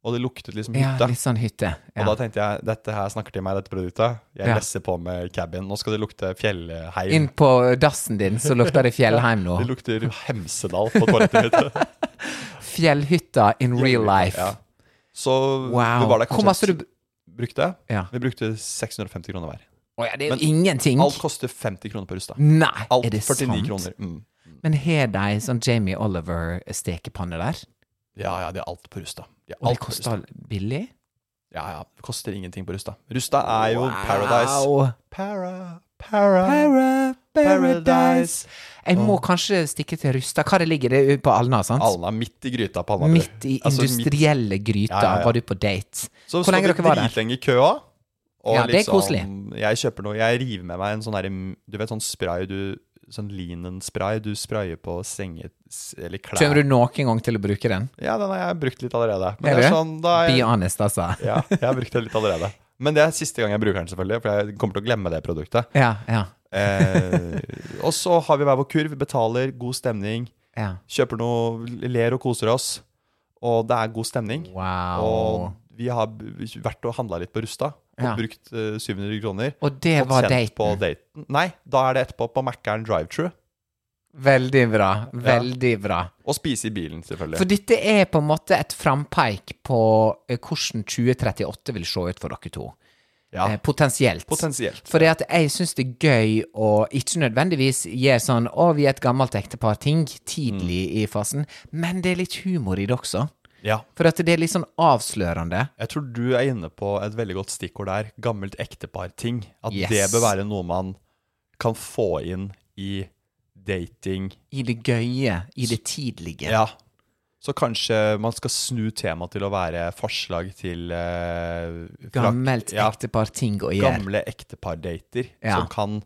Speaker 1: og det luktet liksom
Speaker 2: Ja,
Speaker 1: hytte.
Speaker 2: litt sånn hytte.
Speaker 1: Og da
Speaker 2: Ja.
Speaker 1: tenkte jeg dette her snakker til meg, dette produktet. Jeg
Speaker 2: Ja.
Speaker 1: lesser på med cabin. Nå skal det lukte fjellheim.
Speaker 2: Inn på dassen din, så lukter det fjellheim nå.
Speaker 1: Det lukter Hemsedal på toalettet mitt.
Speaker 2: Fjellhytta in real life.
Speaker 1: Ja. Så
Speaker 2: Wow.
Speaker 1: vi var der
Speaker 2: Hvor masse
Speaker 1: kanskje
Speaker 2: du
Speaker 1: brukte.
Speaker 2: Ja.
Speaker 1: Vi brukte 650 kroner hver.
Speaker 2: Å ja, det er
Speaker 1: Men
Speaker 2: jo ingenting!
Speaker 1: Alt koster 50 kroner på Rusta.
Speaker 2: Nei,
Speaker 1: Alt
Speaker 2: er det
Speaker 1: 49
Speaker 2: sant?
Speaker 1: kroner. Mm.
Speaker 2: Men har de sånn Jamie Oliver-stekepanne der?
Speaker 1: Ja, ja, det er alt på Rusta. Det er
Speaker 2: Og det
Speaker 1: alt på Rusta.
Speaker 2: koster billig?
Speaker 1: Ja, ja, det koster ingenting på Rusta. Rusta er jo paradise.
Speaker 2: Wow.
Speaker 1: Para, para,
Speaker 2: Paradise. Jeg må kanskje stikke til Rusta. Hva det ligger det er på Alna, sant?
Speaker 1: Mm. Alna midt i gryta på Alnabru.
Speaker 2: Midt i
Speaker 1: Altså, midt-
Speaker 2: industrielle gryta
Speaker 1: Ja, ja, ja.
Speaker 2: var du på date.
Speaker 1: Så
Speaker 2: Hvor lenge
Speaker 1: står vi
Speaker 2: dere var der?
Speaker 1: Dritlenge i køa. Og
Speaker 2: Ja, det er
Speaker 1: liksom,
Speaker 2: koselig.
Speaker 1: Jeg kjøper noe Jeg river med meg en sånn derre Du vet sånn spray du Sånn linen-spray du sprayer på senge... s- Eller klær.
Speaker 2: Kommer du noen gang til å bruke den?
Speaker 1: Ja, den har jeg brukt litt allerede.
Speaker 2: Er
Speaker 1: Men det
Speaker 2: det?
Speaker 1: er sånn da er
Speaker 2: Be
Speaker 1: jeg,
Speaker 2: honest, altså.
Speaker 1: ja, jeg har brukt den litt allerede. Men det er siste gang jeg bruker den, selvfølgelig, for jeg kommer til å glemme det produktet.
Speaker 2: Ja, ja.
Speaker 1: Eh, og så har vi hver vår kurv, betaler, god stemning,
Speaker 2: ja.
Speaker 1: kjøper noe, ler og koser oss. Og det er god stemning.
Speaker 2: Wow.
Speaker 1: Og vi har b- vært og handla litt på Rusta og
Speaker 2: Ja.
Speaker 1: brukt eh, 700 kroner.
Speaker 2: Og, det
Speaker 1: fått
Speaker 2: var
Speaker 1: sendt På
Speaker 2: daten.
Speaker 1: daten. Nei, da er det etterpå på Mækkern drive-true.
Speaker 2: Veldig bra. Veldig bra.
Speaker 1: Og spise i bilen, selvfølgelig.
Speaker 2: For dette er på en måte et frampeik på eh, hvordan 2038 vil se ut for dere to.
Speaker 1: ja,
Speaker 2: Eh, Potensielt.
Speaker 1: potensielt.
Speaker 2: Fordi at jeg syns det er gøy å ikke nødvendigvis gjøre sånn Å, vi er et gammelt ektepar-ting tidlig
Speaker 1: Mm.
Speaker 2: i fasen, men det er litt humor i det også.
Speaker 1: Ja.
Speaker 2: For at det er litt sånn avslørende.
Speaker 1: Jeg tror du er inne på et veldig godt stikkord der. Gammelt ektepar-ting. At
Speaker 2: Yes.
Speaker 1: det bør være noe man kan få inn i dating.
Speaker 2: I det gøye, i det tidlige.
Speaker 1: Ja. Så kanskje man skal snu temaet til å være forslag til eh, fra-
Speaker 2: Gammelt
Speaker 1: ja,
Speaker 2: ektepar-ting å gjøre
Speaker 1: Gamle ektepar-dater
Speaker 2: Ja.
Speaker 1: som, kan,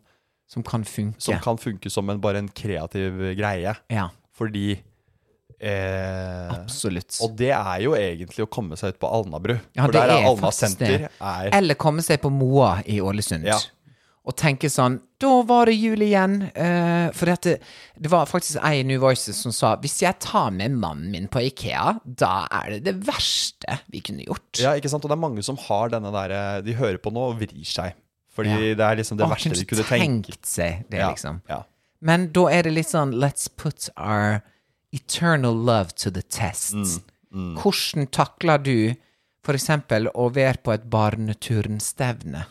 Speaker 2: som kan funke.
Speaker 1: som kan funke som en, bare en kreativ greie.
Speaker 2: Ja,
Speaker 1: Fordi eh,
Speaker 2: absolutt.
Speaker 1: Og det er jo egentlig å komme seg ut på Alnabru.
Speaker 2: Ja,
Speaker 1: for
Speaker 2: det
Speaker 1: der
Speaker 2: er
Speaker 1: er Alna
Speaker 2: faktisk
Speaker 1: senter.
Speaker 2: det.
Speaker 1: Er,
Speaker 2: Eller komme seg på Moa i Ålesund.
Speaker 1: Ja.
Speaker 2: Og tenke sånn Da var det jul igjen. eh, for det, det var faktisk ei i New Voices som sa hvis jeg tar med mannen min på Ikea, da er det det verste vi kunne gjort.
Speaker 1: ja, ikke sant? Og det er mange som har denne derre De hører på nå og vrir seg. Fordi
Speaker 2: Ja.
Speaker 1: det er liksom det
Speaker 2: Å,
Speaker 1: verste de kunne tenke.
Speaker 2: tenkt seg det,
Speaker 1: Ja,
Speaker 2: liksom.
Speaker 1: ja.
Speaker 2: Men da er det litt sånn Let's put our eternal love to the test.
Speaker 1: Mm,
Speaker 2: Hvordan takler du for eksempel å være på et barneturnstevne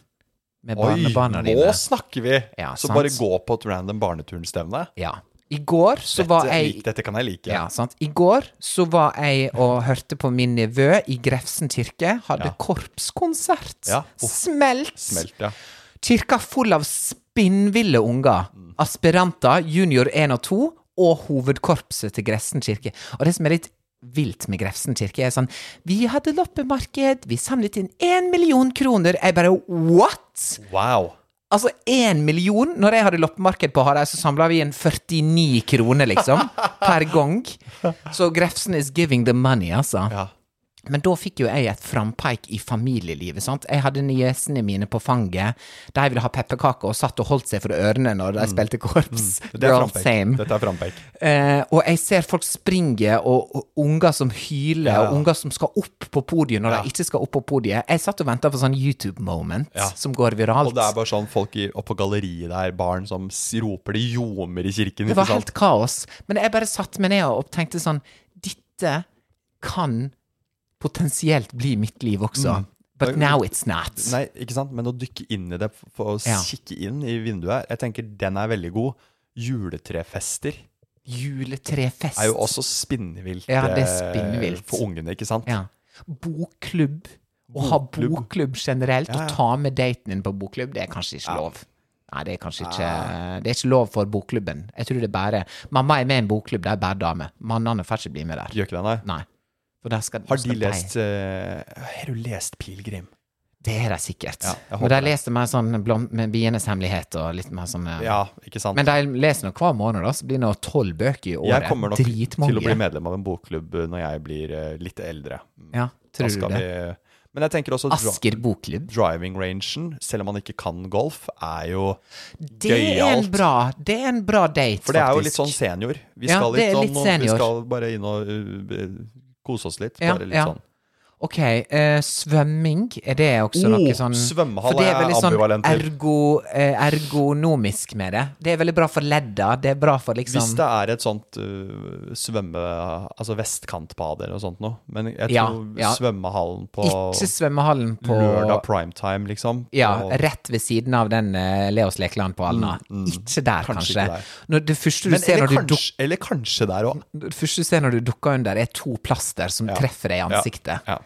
Speaker 2: med
Speaker 1: Oi,
Speaker 2: barnebarna dine?
Speaker 1: nå snakker vi!
Speaker 2: Ja,
Speaker 1: så
Speaker 2: sant.
Speaker 1: bare gå på et random barneturnstevne.
Speaker 2: Ja. I går så var
Speaker 1: Dette,
Speaker 2: jeg
Speaker 1: lik- dette kan jeg like.
Speaker 2: ja, sant? I går så var jeg og hørte på min nevø i Grefsen kirke. Hadde
Speaker 1: Ja.
Speaker 2: korpskonsert.
Speaker 1: Ja. Uff.
Speaker 2: Smelt.
Speaker 1: Smelt, ja.
Speaker 2: Kirka full av spinnville unger. Aspiranter, junior 1 og 2, og hovedkorpset til Grefsen kirke. Og det som er litt vilt med Grefsen kirke, er sånn Vi hadde loppemarked, vi samlet inn én million kroner. Jeg bare what?!
Speaker 1: Wow.
Speaker 2: Altså én million. Når jeg hadde loppemarked på Hareid, så samla vi inn 49 kroner, liksom. Per gang. Så Grefsen is giving the money, altså.
Speaker 1: Ja.
Speaker 2: Men da fikk jo jeg et frampeik i familielivet, sant. Jeg hadde niesene mine på fanget. De ville ha pepperkaker og satt og holdt seg for ørene når de spilte korps.
Speaker 1: Mm. Det er
Speaker 2: They're all
Speaker 1: frampeik.
Speaker 2: same.
Speaker 1: Dette er frampeik.
Speaker 2: Eh, og jeg ser folk springe, og, og unger som hyler, og unger som skal opp på podiet når
Speaker 1: Ja.
Speaker 2: de ikke skal opp på podiet. Jeg satt og venta på sånn YouTube-moment
Speaker 1: Ja.
Speaker 2: som går viralt.
Speaker 1: Og det er bare sånn folk i, oppe på galleriet der, barn som s- roper de ljomer i kirken.
Speaker 2: Det
Speaker 1: ikke
Speaker 2: var
Speaker 1: sant?
Speaker 2: helt kaos. Men jeg bare satte meg ned og tenkte sånn Dette kan potensielt bli mitt liv
Speaker 1: Mm.
Speaker 2: også. But now it's not.
Speaker 1: Nei, ikke sant? Men å dykke inn i det, f- for å
Speaker 2: Ja.
Speaker 1: kikke inn i vinduet Jeg tenker den er veldig god. Juletrefester
Speaker 2: Juletrefest.
Speaker 1: er jo også spinnvilt,
Speaker 2: Ja, det er
Speaker 1: eh,
Speaker 2: spinnvilt.
Speaker 1: for ungene, ikke sant?
Speaker 2: ja. Bokklubb. Å ha
Speaker 1: Bokklubb.
Speaker 2: bokklubb generelt,
Speaker 1: Ja, ja.
Speaker 2: og ta med daten din på bokklubb, det er kanskje ikke lov. Nei, det er kanskje ikke
Speaker 1: Ah.
Speaker 2: Det er ikke lov for bokklubben. Jeg tror det er bare Mamma er med i en bokklubb, de er bare damer. Mannene får ikke bli med der.
Speaker 1: Gjør ikke det, nei?
Speaker 2: Nei. For der skal,
Speaker 1: Har de
Speaker 2: skal
Speaker 1: lest eh, Har du lest Pilegrim?
Speaker 2: Det er de sikkert.
Speaker 1: Ja, jeg
Speaker 2: og
Speaker 1: håper
Speaker 2: de
Speaker 1: det.
Speaker 2: leser mer sånn blom, med bienes hemmelighet og litt mer sånn eh,
Speaker 1: Ja, ikke sant?
Speaker 2: Men de leser nå hver måned, da, så blir det nå tolv bøker i året.
Speaker 1: jeg kommer nok
Speaker 2: Dritmange.
Speaker 1: til å bli medlem av en bokklubb når jeg blir eh, litt eldre.
Speaker 2: Ja,
Speaker 1: Da
Speaker 2: tror du
Speaker 1: skal
Speaker 2: det?
Speaker 1: Vi, men jeg tenker også dra-
Speaker 2: Asker bokklubb.
Speaker 1: driving-rangen, selv om man ikke kan golf, er jo
Speaker 2: Det er en
Speaker 1: gøyalt.
Speaker 2: bra, det er en bra date, faktisk.
Speaker 1: For det er jo litt sånn senior. Vi
Speaker 2: Ja,
Speaker 1: skal,
Speaker 2: det er
Speaker 1: sånn,
Speaker 2: litt
Speaker 1: og-
Speaker 2: senior.
Speaker 1: vi skal bare inn og uh, b- kose oss litt.
Speaker 2: Ja,
Speaker 1: Bare litt
Speaker 2: ja.
Speaker 1: sånn.
Speaker 2: Ok, eh, svømming, er det også
Speaker 1: Oh,
Speaker 2: noe sånn
Speaker 1: svømmehall
Speaker 2: For det
Speaker 1: er jeg
Speaker 2: veldig sånn
Speaker 1: ambivalent til.
Speaker 2: ergo, eh, ergonomisk med det. Det er veldig bra for ledda. Det er bra for
Speaker 1: Hvis
Speaker 2: liksom
Speaker 1: det er et sånt øh, svømme... Altså vestkantbader og sånt noe. Men jeg
Speaker 2: Ja,
Speaker 1: tror
Speaker 2: ja.
Speaker 1: svømmehallen på
Speaker 2: Ikke svømmehallen på
Speaker 1: lørdag primetime, liksom.
Speaker 2: Ja,
Speaker 1: på- Mm,
Speaker 2: rett ved siden av den eh, Leos lekeland på Alna. Ikke der,
Speaker 1: Kanskje
Speaker 2: kanskje.
Speaker 1: ikke der.
Speaker 2: Når det første du
Speaker 1: men,
Speaker 2: ser
Speaker 1: eller,
Speaker 2: når du
Speaker 1: kanskje, eller kanskje der òg.
Speaker 2: det første du ser når du dukker under, er to plaster som treffer deg i ansiktet.
Speaker 1: Ja, ja.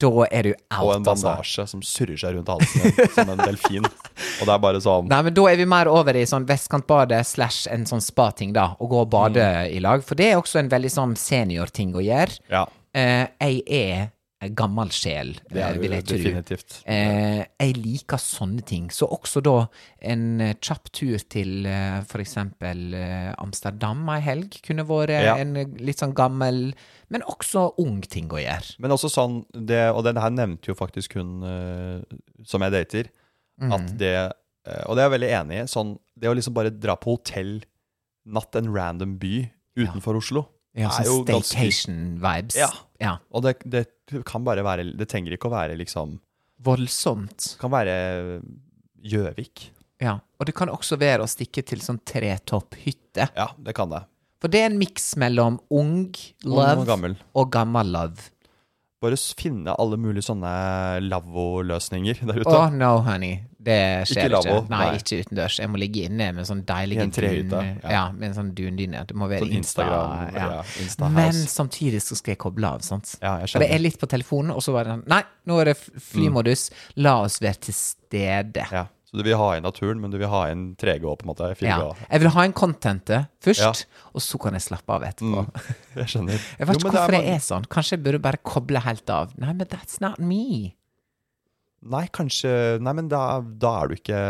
Speaker 2: Da er du out,
Speaker 1: Og en
Speaker 2: altså.
Speaker 1: bandasje som surrer seg rundt halsen din, som en delfin. Og det er bare sånn
Speaker 2: Nei, men da er vi mer over i sånn vestkantbadet slash en sånn spating, da. Å gå og bade
Speaker 1: Mm.
Speaker 2: i lag. For det er også en veldig sånn seniorting å gjøre.
Speaker 1: Ja,
Speaker 2: Eh, jeg er en gammel sjel,
Speaker 1: det
Speaker 2: eh,
Speaker 1: er
Speaker 2: vil
Speaker 1: jo
Speaker 2: jeg tro.
Speaker 1: definitivt.
Speaker 2: Eh, jeg liker sånne ting. Så også da en eh, kjapp tur til eh, for eksempel eh, Amsterdam ei helg kunne vært
Speaker 1: Ja.
Speaker 2: en eh, litt sånn gammel, men også ung ting å gjøre.
Speaker 1: Men også sånn, det, og den her nevnte jo faktisk hun eh, som jeg dater, at det eh, Og det er jeg veldig enig i. Sånn, det å liksom bare dra på hotell natt en random by utenfor Oslo
Speaker 2: Ja,
Speaker 1: er jo
Speaker 2: sånn
Speaker 1: ganske-
Speaker 2: staycation-vibes.
Speaker 1: Ja. Og det, det kan bare være Det trenger ikke å være liksom Det
Speaker 2: Voldsomt.
Speaker 1: kan være Gjøvik.
Speaker 2: Ja. Og det kan også være å stikke til sånn tretopphytte.
Speaker 1: Ja, det kan det.
Speaker 2: For det er en miks mellom ung
Speaker 1: Ung
Speaker 2: love
Speaker 1: og gammel.
Speaker 2: og gammel love.
Speaker 1: Bare s- finne alle mulige sånne lavvo-løsninger der ute.
Speaker 2: Oh no, honey. Det skjer ikke.
Speaker 1: lavvo,
Speaker 2: Nei,
Speaker 1: nei.
Speaker 2: ikke utendørs. Jeg må ligge inne med en sånn deilig
Speaker 1: I en trehytte,
Speaker 2: dun-
Speaker 1: ja.
Speaker 2: Ja. med en sånn dundyne. Det må være
Speaker 1: Sånn
Speaker 2: Insta.
Speaker 1: Instagram,
Speaker 2: ja.
Speaker 1: ja, Insta
Speaker 2: Men
Speaker 1: house.
Speaker 2: samtidig så skal jeg koble av, sant.
Speaker 1: Ja, jeg
Speaker 2: For det
Speaker 1: skjønner. Mm.
Speaker 2: er litt på telefonen, og så var det sånn Nei, nå er det f- flymodus. La oss være til stede.
Speaker 1: Ja. Så du vil ha inn naturen, men du vil ha inn 3G òg, på en måte. 4G.
Speaker 2: Ja. Jeg vil ha en contentet først, og så kan jeg slappe av etterpå.
Speaker 1: Mm. Jeg skjønner.
Speaker 2: Jeg vet
Speaker 1: Jo,
Speaker 2: ikke
Speaker 1: men det er
Speaker 2: hvorfor
Speaker 1: mange-
Speaker 2: jeg er sånn. Kanskje jeg burde bare koble helt av. Nei, men that's not me.
Speaker 1: Nei, kanskje Nei, men da, da, er du ikke,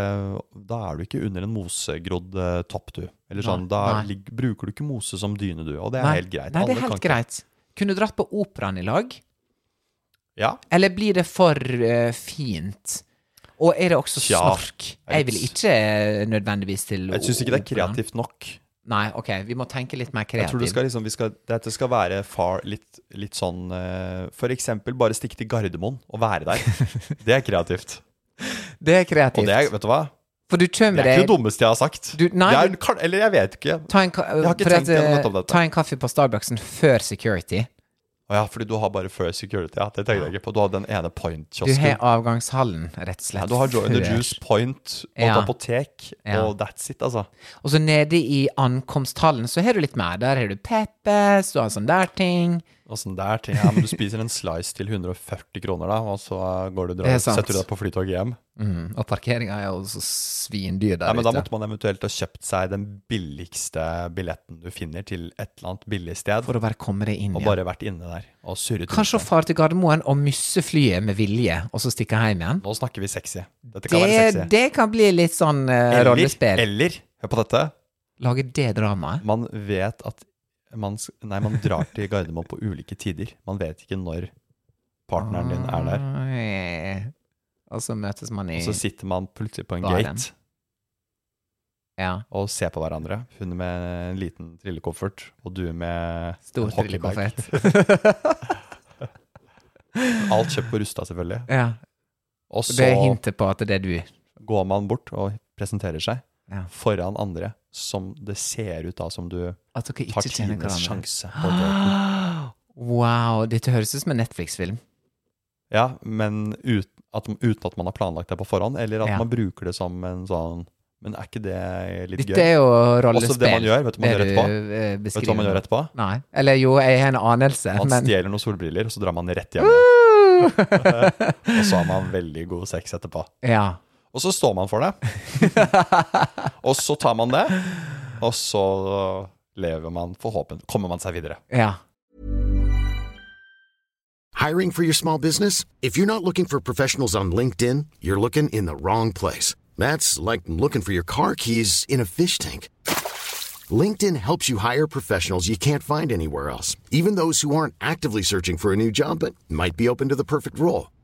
Speaker 1: da er du ikke under en mosegrodd eh, topp, du. Eller sånn,
Speaker 2: Nei,
Speaker 1: da
Speaker 2: nei.
Speaker 1: ligg- bruker du ikke mose som dyne, du. Og det er
Speaker 2: Nei,
Speaker 1: helt greit.
Speaker 2: Nei, det
Speaker 1: Alle
Speaker 2: er
Speaker 1: kan
Speaker 2: helt
Speaker 1: ikke-
Speaker 2: greit. Kunne dratt på operaen i lag.
Speaker 1: Ja,
Speaker 2: Eller blir det for eh, fint? Og er det også
Speaker 1: Tja,
Speaker 2: snork? Jeg
Speaker 1: jeg
Speaker 2: vil
Speaker 1: vet.
Speaker 2: ikke eh, nødvendigvis til
Speaker 1: jeg syns ikke det er
Speaker 2: operaen.
Speaker 1: kreativt nok.
Speaker 2: Nei, ok, vi må tenke litt mer
Speaker 1: Jeg tror det
Speaker 2: kreativt.
Speaker 1: skal liksom, vi skal, Dette skal være far litt, litt sånn eh, For eksempel bare stikke til Gardermoen og være der. Det er kreativt.
Speaker 2: Det er
Speaker 1: Og
Speaker 2: kreativt.
Speaker 1: det er, vet du hva?
Speaker 2: For du
Speaker 1: Det
Speaker 2: kommer
Speaker 1: er ikke det
Speaker 2: deg
Speaker 1: dummeste jeg har sagt.
Speaker 2: Du- nei,
Speaker 1: det er,
Speaker 2: men-
Speaker 1: kan- eller jeg vet ikke.
Speaker 2: ta en, ka-
Speaker 1: har ikke
Speaker 2: for
Speaker 1: tenkt
Speaker 2: at, eh,
Speaker 1: gjennom dette.
Speaker 2: ta en kaffe på Starbucksen før security.
Speaker 1: Å ja, fordi du har bare First Security. Ja, det tenkte jeg ikke på. Du har den ene
Speaker 2: Du har
Speaker 1: point-kiosken.
Speaker 2: avgangshallen, rett og
Speaker 1: Ja,
Speaker 2: slett.
Speaker 1: du har Joy and the
Speaker 2: før.
Speaker 1: Juice, Point og et
Speaker 2: Ja.
Speaker 1: apotek,
Speaker 2: Ja.
Speaker 1: og that's it, altså.
Speaker 2: Og så nede i ankomsthallen så har du litt mer. Der har du Peppes, du har en sånn der ting.
Speaker 1: Og sånn der ting. Ja, men du spiser en slice til 140 kroner, da, og så går du og
Speaker 2: Det
Speaker 1: drar,
Speaker 2: er sant.
Speaker 1: setter du deg på flytoget hjem.
Speaker 2: Mm. Og parkeringa er jo så svindyr der
Speaker 1: Nei, men da
Speaker 2: ute.
Speaker 1: måtte man eventuelt ha kjøpt seg den billigste billetten du finner til et eller annet billig sted,
Speaker 2: For å bare komme deg inn
Speaker 1: og
Speaker 2: igjen.
Speaker 1: bare vært inne der og surret. rundt.
Speaker 2: Kanskje å fare til Gardermoen og misse flyet med vilje, og så stikke hjem igjen.
Speaker 1: Nå snakker vi sexy. Dette kan være
Speaker 2: Det,
Speaker 1: sexy.
Speaker 2: det kan bli litt sånn eh,
Speaker 1: eller,
Speaker 2: rollespill.
Speaker 1: eller, hør på dette,
Speaker 2: Lage det dramaet.
Speaker 1: man vet at man, s- nei, man drar til Gardermoen på ulike tider. Man vet ikke når partneren din er der.
Speaker 2: Oi. Og så møtes man i
Speaker 1: Og så sitter man plutselig på en
Speaker 2: Baren.
Speaker 1: gate.
Speaker 2: Ja,
Speaker 1: og se på hverandre. Hun med en liten trillekoffert, og du med
Speaker 2: stor
Speaker 1: en hockeybag.
Speaker 2: trillekoffert.
Speaker 1: Alt kjøpt på Rusta, selvfølgelig.
Speaker 2: ja,
Speaker 1: Og
Speaker 2: det er
Speaker 1: så
Speaker 2: hintet på at det er du.
Speaker 1: går man bort og presenterer seg
Speaker 2: Ja.
Speaker 1: foran andre som det ser ut da som du
Speaker 2: At dere
Speaker 1: tar
Speaker 2: ikke kjenner
Speaker 1: tidenes
Speaker 2: hverandre.
Speaker 1: sjanse på. daten.
Speaker 2: Wow, dette høres ut som en Netflix-film.
Speaker 1: Ja, men ut, at, uten at man har planlagt det på forhånd, eller at
Speaker 2: Ja.
Speaker 1: man bruker det som en sånn Men er ikke det litt
Speaker 2: Dette
Speaker 1: gøy?
Speaker 2: er jo rollespill.
Speaker 1: Også det man gjør, vet du hva man gjør etterpå?
Speaker 2: etterpå?
Speaker 1: Vet du hva man gjør etterpå?
Speaker 2: eh, Nei. Eller jo, jeg har en anelse,
Speaker 1: Man
Speaker 2: men
Speaker 1: stjeler noen solbriller, og så drar man rett hjem. Og så har man veldig god sex etterpå.
Speaker 2: Ja.
Speaker 1: Og så står man for det. og så tar man det, og så lever man forhåpentlig Kommer man seg videre.
Speaker 2: Ja.
Speaker 3: Hiring for your small business? If you're not looking for professionals on LinkedIn, you're looking in the wrong place. That's like looking for your car keys in a fish tank. LinkedIn helps you hire professionals you can't find anywhere else, even those who aren't actively searching for a new job but might be open to the perfect role.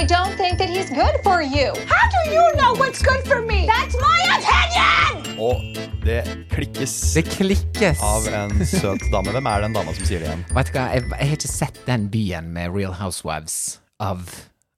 Speaker 4: I don't think that he's good for you.
Speaker 5: How do you know what's good for me?
Speaker 4: That's my opinion!
Speaker 1: Og det klikkes
Speaker 2: Det klikkes.
Speaker 1: av en søt dame. Hvem er den dama som sier det igjen?
Speaker 2: Vet du hva, jeg, jeg har ikke sett den byen med Real Housewives av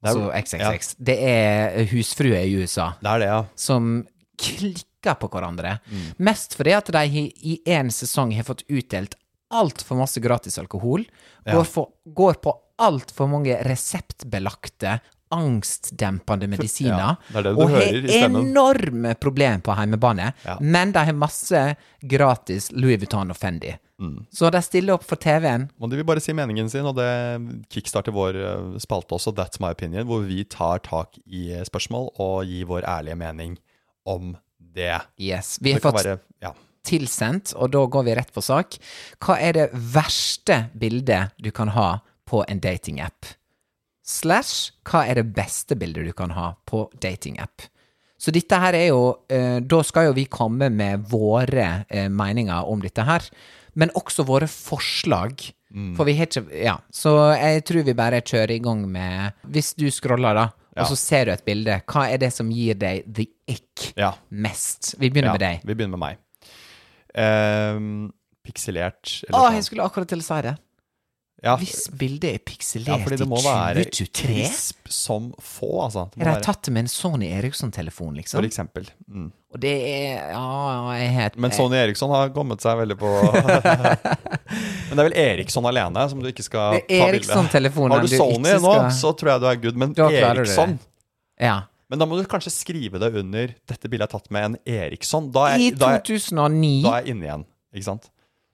Speaker 1: Det er-
Speaker 2: altså XXX. Det er husfruer i USA
Speaker 1: Det er det, ja.
Speaker 2: som klikker på hverandre.
Speaker 1: Mm.
Speaker 2: Mest fordi at de i- i én sesong har fått utdelt altfor masse gratis alkohol. Går, for, går på altfor mange reseptbelagte angstdempende medisiner.
Speaker 1: det er det du
Speaker 2: og
Speaker 1: hører i
Speaker 2: har
Speaker 1: stemmen.
Speaker 2: enorme problemer på hjemmebane.
Speaker 1: Ja.
Speaker 2: Men de har masse gratis Louis Vuitton og Fendi.
Speaker 1: Mm.
Speaker 2: Så de stiller opp for TV-en.
Speaker 1: Og de vil bare si meningen sin, og det kickstarter vår eh, spalte også, That's my opinion, hvor vi tar tak i eh, spørsmål og gir vår ærlige mening om det.
Speaker 2: Yes. Vi
Speaker 1: Det
Speaker 2: har
Speaker 1: kan
Speaker 2: fått
Speaker 1: være- ja.
Speaker 2: tilsendt, og da går vi rett på sak. Hva er det verste bildet du kan ha på en datingapp? Slash, hva er det beste bildet du kan ha på datingapp? Så dette her er jo eh, Da skal jo vi komme med våre eh, meninger om dette her, men også våre forslag. For vi har ikke Ja. Så jeg tror vi bare kjører i gang med Hvis du scroller, da, og så ser du et bilde, hva er det som gir deg the ick
Speaker 1: Ja.
Speaker 2: mest? Vi begynner med deg.
Speaker 1: Vi begynner med meg. Ehm, pikselert. eller
Speaker 2: Å,
Speaker 1: sånn.
Speaker 2: jeg skulle akkurat til å si det.
Speaker 1: ja.
Speaker 2: Hvis bildet er pikselert
Speaker 1: ja, fordi det må
Speaker 2: i
Speaker 1: være
Speaker 2: 2023
Speaker 1: crisp som få, altså. Det må
Speaker 2: Har de
Speaker 1: være-
Speaker 2: tatt det med en Sony Eriksson-telefon,
Speaker 1: For
Speaker 2: liksom?
Speaker 1: eksempel. Mm.
Speaker 2: Og det er Ja, jeg har et
Speaker 1: Men Sony Eriksson har kommet seg veldig på Men det er vel Eriksson alene som du ikke skal
Speaker 2: Det er
Speaker 1: ta bilde
Speaker 2: Eriksson-telefonen
Speaker 1: Har du
Speaker 2: du
Speaker 1: Sony
Speaker 2: ikke
Speaker 1: nå,
Speaker 2: skal-
Speaker 1: så tror jeg du er good, men
Speaker 2: Da klarer du det.
Speaker 1: Eriksson
Speaker 2: Ja.
Speaker 1: Men da må du kanskje skrive det under 'Dette bildet er tatt med en Eriksson'. Da er,
Speaker 2: I
Speaker 1: da er,
Speaker 2: 2009
Speaker 1: da er jeg inne igjen, ikke sant?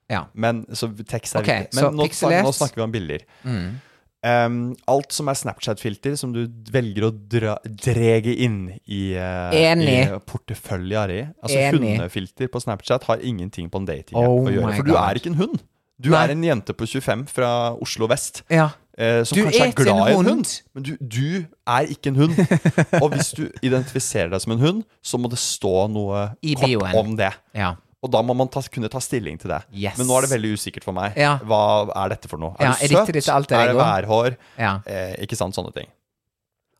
Speaker 2: Ja.
Speaker 1: Men så tekst er
Speaker 2: Ok,
Speaker 1: viktig.
Speaker 2: så Mm.
Speaker 1: Men nå,
Speaker 2: pikselert.
Speaker 1: snak- nå snakker vi om bilder. Um, alt som er Snapchat-filter, som du velger å dra, drege inn i, uh,
Speaker 2: Enig.
Speaker 1: i portefølja di Altså
Speaker 2: Enig.
Speaker 1: hundefilter på Snapchat har ingenting på en dating
Speaker 2: Oh
Speaker 1: å gjøre.
Speaker 2: my
Speaker 1: For du
Speaker 2: God.
Speaker 1: er ikke en hund. Du
Speaker 2: Nei.
Speaker 1: er en jente på 25 fra Oslo vest.
Speaker 2: Ja.
Speaker 1: Eh, som
Speaker 2: Du
Speaker 1: kanskje
Speaker 2: er
Speaker 1: er
Speaker 2: ikke
Speaker 1: glad
Speaker 2: en
Speaker 1: i en
Speaker 2: hund.
Speaker 1: hund, men du, du er ikke en hund. og hvis du identifiserer deg som en hund, så må det stå noe
Speaker 2: I
Speaker 1: kort
Speaker 2: bioen.
Speaker 1: om det.
Speaker 2: Ja.
Speaker 1: Og da må man ta, kunne ta stilling til det.
Speaker 2: Yes.
Speaker 1: Men nå er det veldig usikkert for meg.
Speaker 2: Ja.
Speaker 1: Hva er dette for noe? Er
Speaker 2: Ja, er
Speaker 1: du
Speaker 2: dette
Speaker 1: søt?
Speaker 2: ditt alter
Speaker 1: er det
Speaker 2: ego?
Speaker 1: værhår?
Speaker 2: Ja.
Speaker 1: Eh, ikke sant, sånne ting.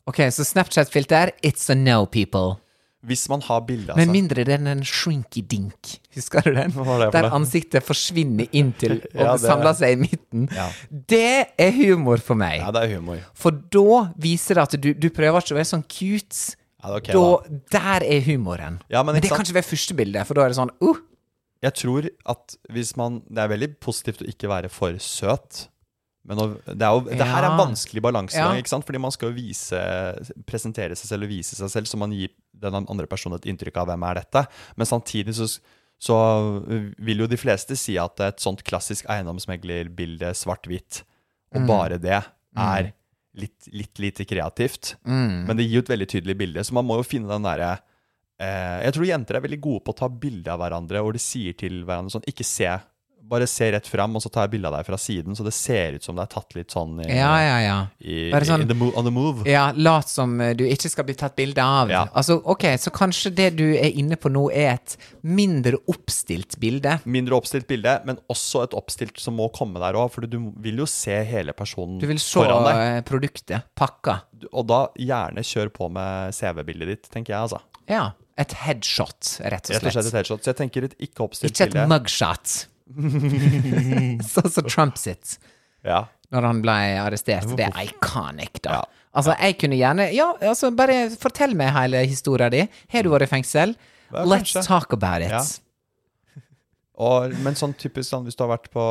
Speaker 2: Ok, så Snapchat-filter It's a no, people.
Speaker 1: Hvis man har bilde av
Speaker 2: Med
Speaker 1: seg
Speaker 2: mindre det er en shrinky-dink. Husker du den?
Speaker 1: Hva var det for
Speaker 2: Der
Speaker 1: noe?
Speaker 2: ansiktet forsvinner inntil og
Speaker 1: Ja, det-
Speaker 2: samler seg i midten.
Speaker 1: Ja.
Speaker 2: Det er humor for meg.
Speaker 1: Ja, det er humor.
Speaker 2: For da viser det at du, du prøver ikke å være sånn cute.
Speaker 1: Ja, det er ok,
Speaker 2: da, der er humoren.
Speaker 1: Ja, men
Speaker 2: det
Speaker 1: ikke
Speaker 2: kan
Speaker 1: sant?
Speaker 2: ikke være første bildet, for da er det sånn uh,
Speaker 1: Jeg tror at hvis man Det er veldig positivt å ikke være for søt. Men å, det, er jo, det her er en
Speaker 2: Ja.
Speaker 1: vanskelig balansegang,
Speaker 2: Ja.
Speaker 1: ikke sant? fordi man skal jo vise, presentere seg selv og vise seg selv, så man gir den andre personen et inntrykk av 'hvem er dette'? Men samtidig så, så vil jo de fleste si at et sånt klassisk eiendomsmeglerbilde, svart-hvitt, og
Speaker 2: Mm.
Speaker 1: bare det, er litt, litt lite kreativt.
Speaker 2: Mm.
Speaker 1: Men det gir jo et veldig tydelig bilde, så man må jo finne den derre Eh, jeg tror jenter er veldig gode på å ta bilde av hverandre, og de sier til hverandre sånn Ikke se. Bare se rett fram, og så tar jeg bilde av deg fra siden, så det ser ut som det er tatt litt sånn i,
Speaker 2: Ja, ja, ja.
Speaker 1: i,
Speaker 2: Bare sånn-
Speaker 1: in the mo on the move.
Speaker 2: Ja, lat som eh, du ikke skal bli tatt bilde av.
Speaker 1: Ja.
Speaker 2: Altså, ok, Så kanskje det du er inne på nå, er et mindre oppstilt bilde.
Speaker 1: Mindre oppstilt bilde, men også et oppstilt som må komme der òg, for du vil jo se hele personen
Speaker 2: Du vil se
Speaker 1: foran deg.
Speaker 2: eh, produktet, pakka.
Speaker 1: Du- Og da gjerne kjør på med CV-bildet ditt, tenker jeg, altså.
Speaker 2: Ja. Et headshot, rett og
Speaker 1: Rett og slett
Speaker 2: slett.
Speaker 1: et headshot. Så jeg tenker et ikke oppstilt
Speaker 2: Ikke et
Speaker 1: bilde.
Speaker 2: mugshot. Sånn som Trump sitt.
Speaker 1: Ja.
Speaker 2: når han ble arrestert. Det er iconic, da. Altså, jeg kunne gjerne Ja, altså, bare fortell meg hele historia di. Har du vært i fengsel?
Speaker 1: Ja,
Speaker 2: Let's
Speaker 1: kanskje.
Speaker 2: talk about it.
Speaker 1: Ja. Og, men sånn typisk sånn, hvis du har vært på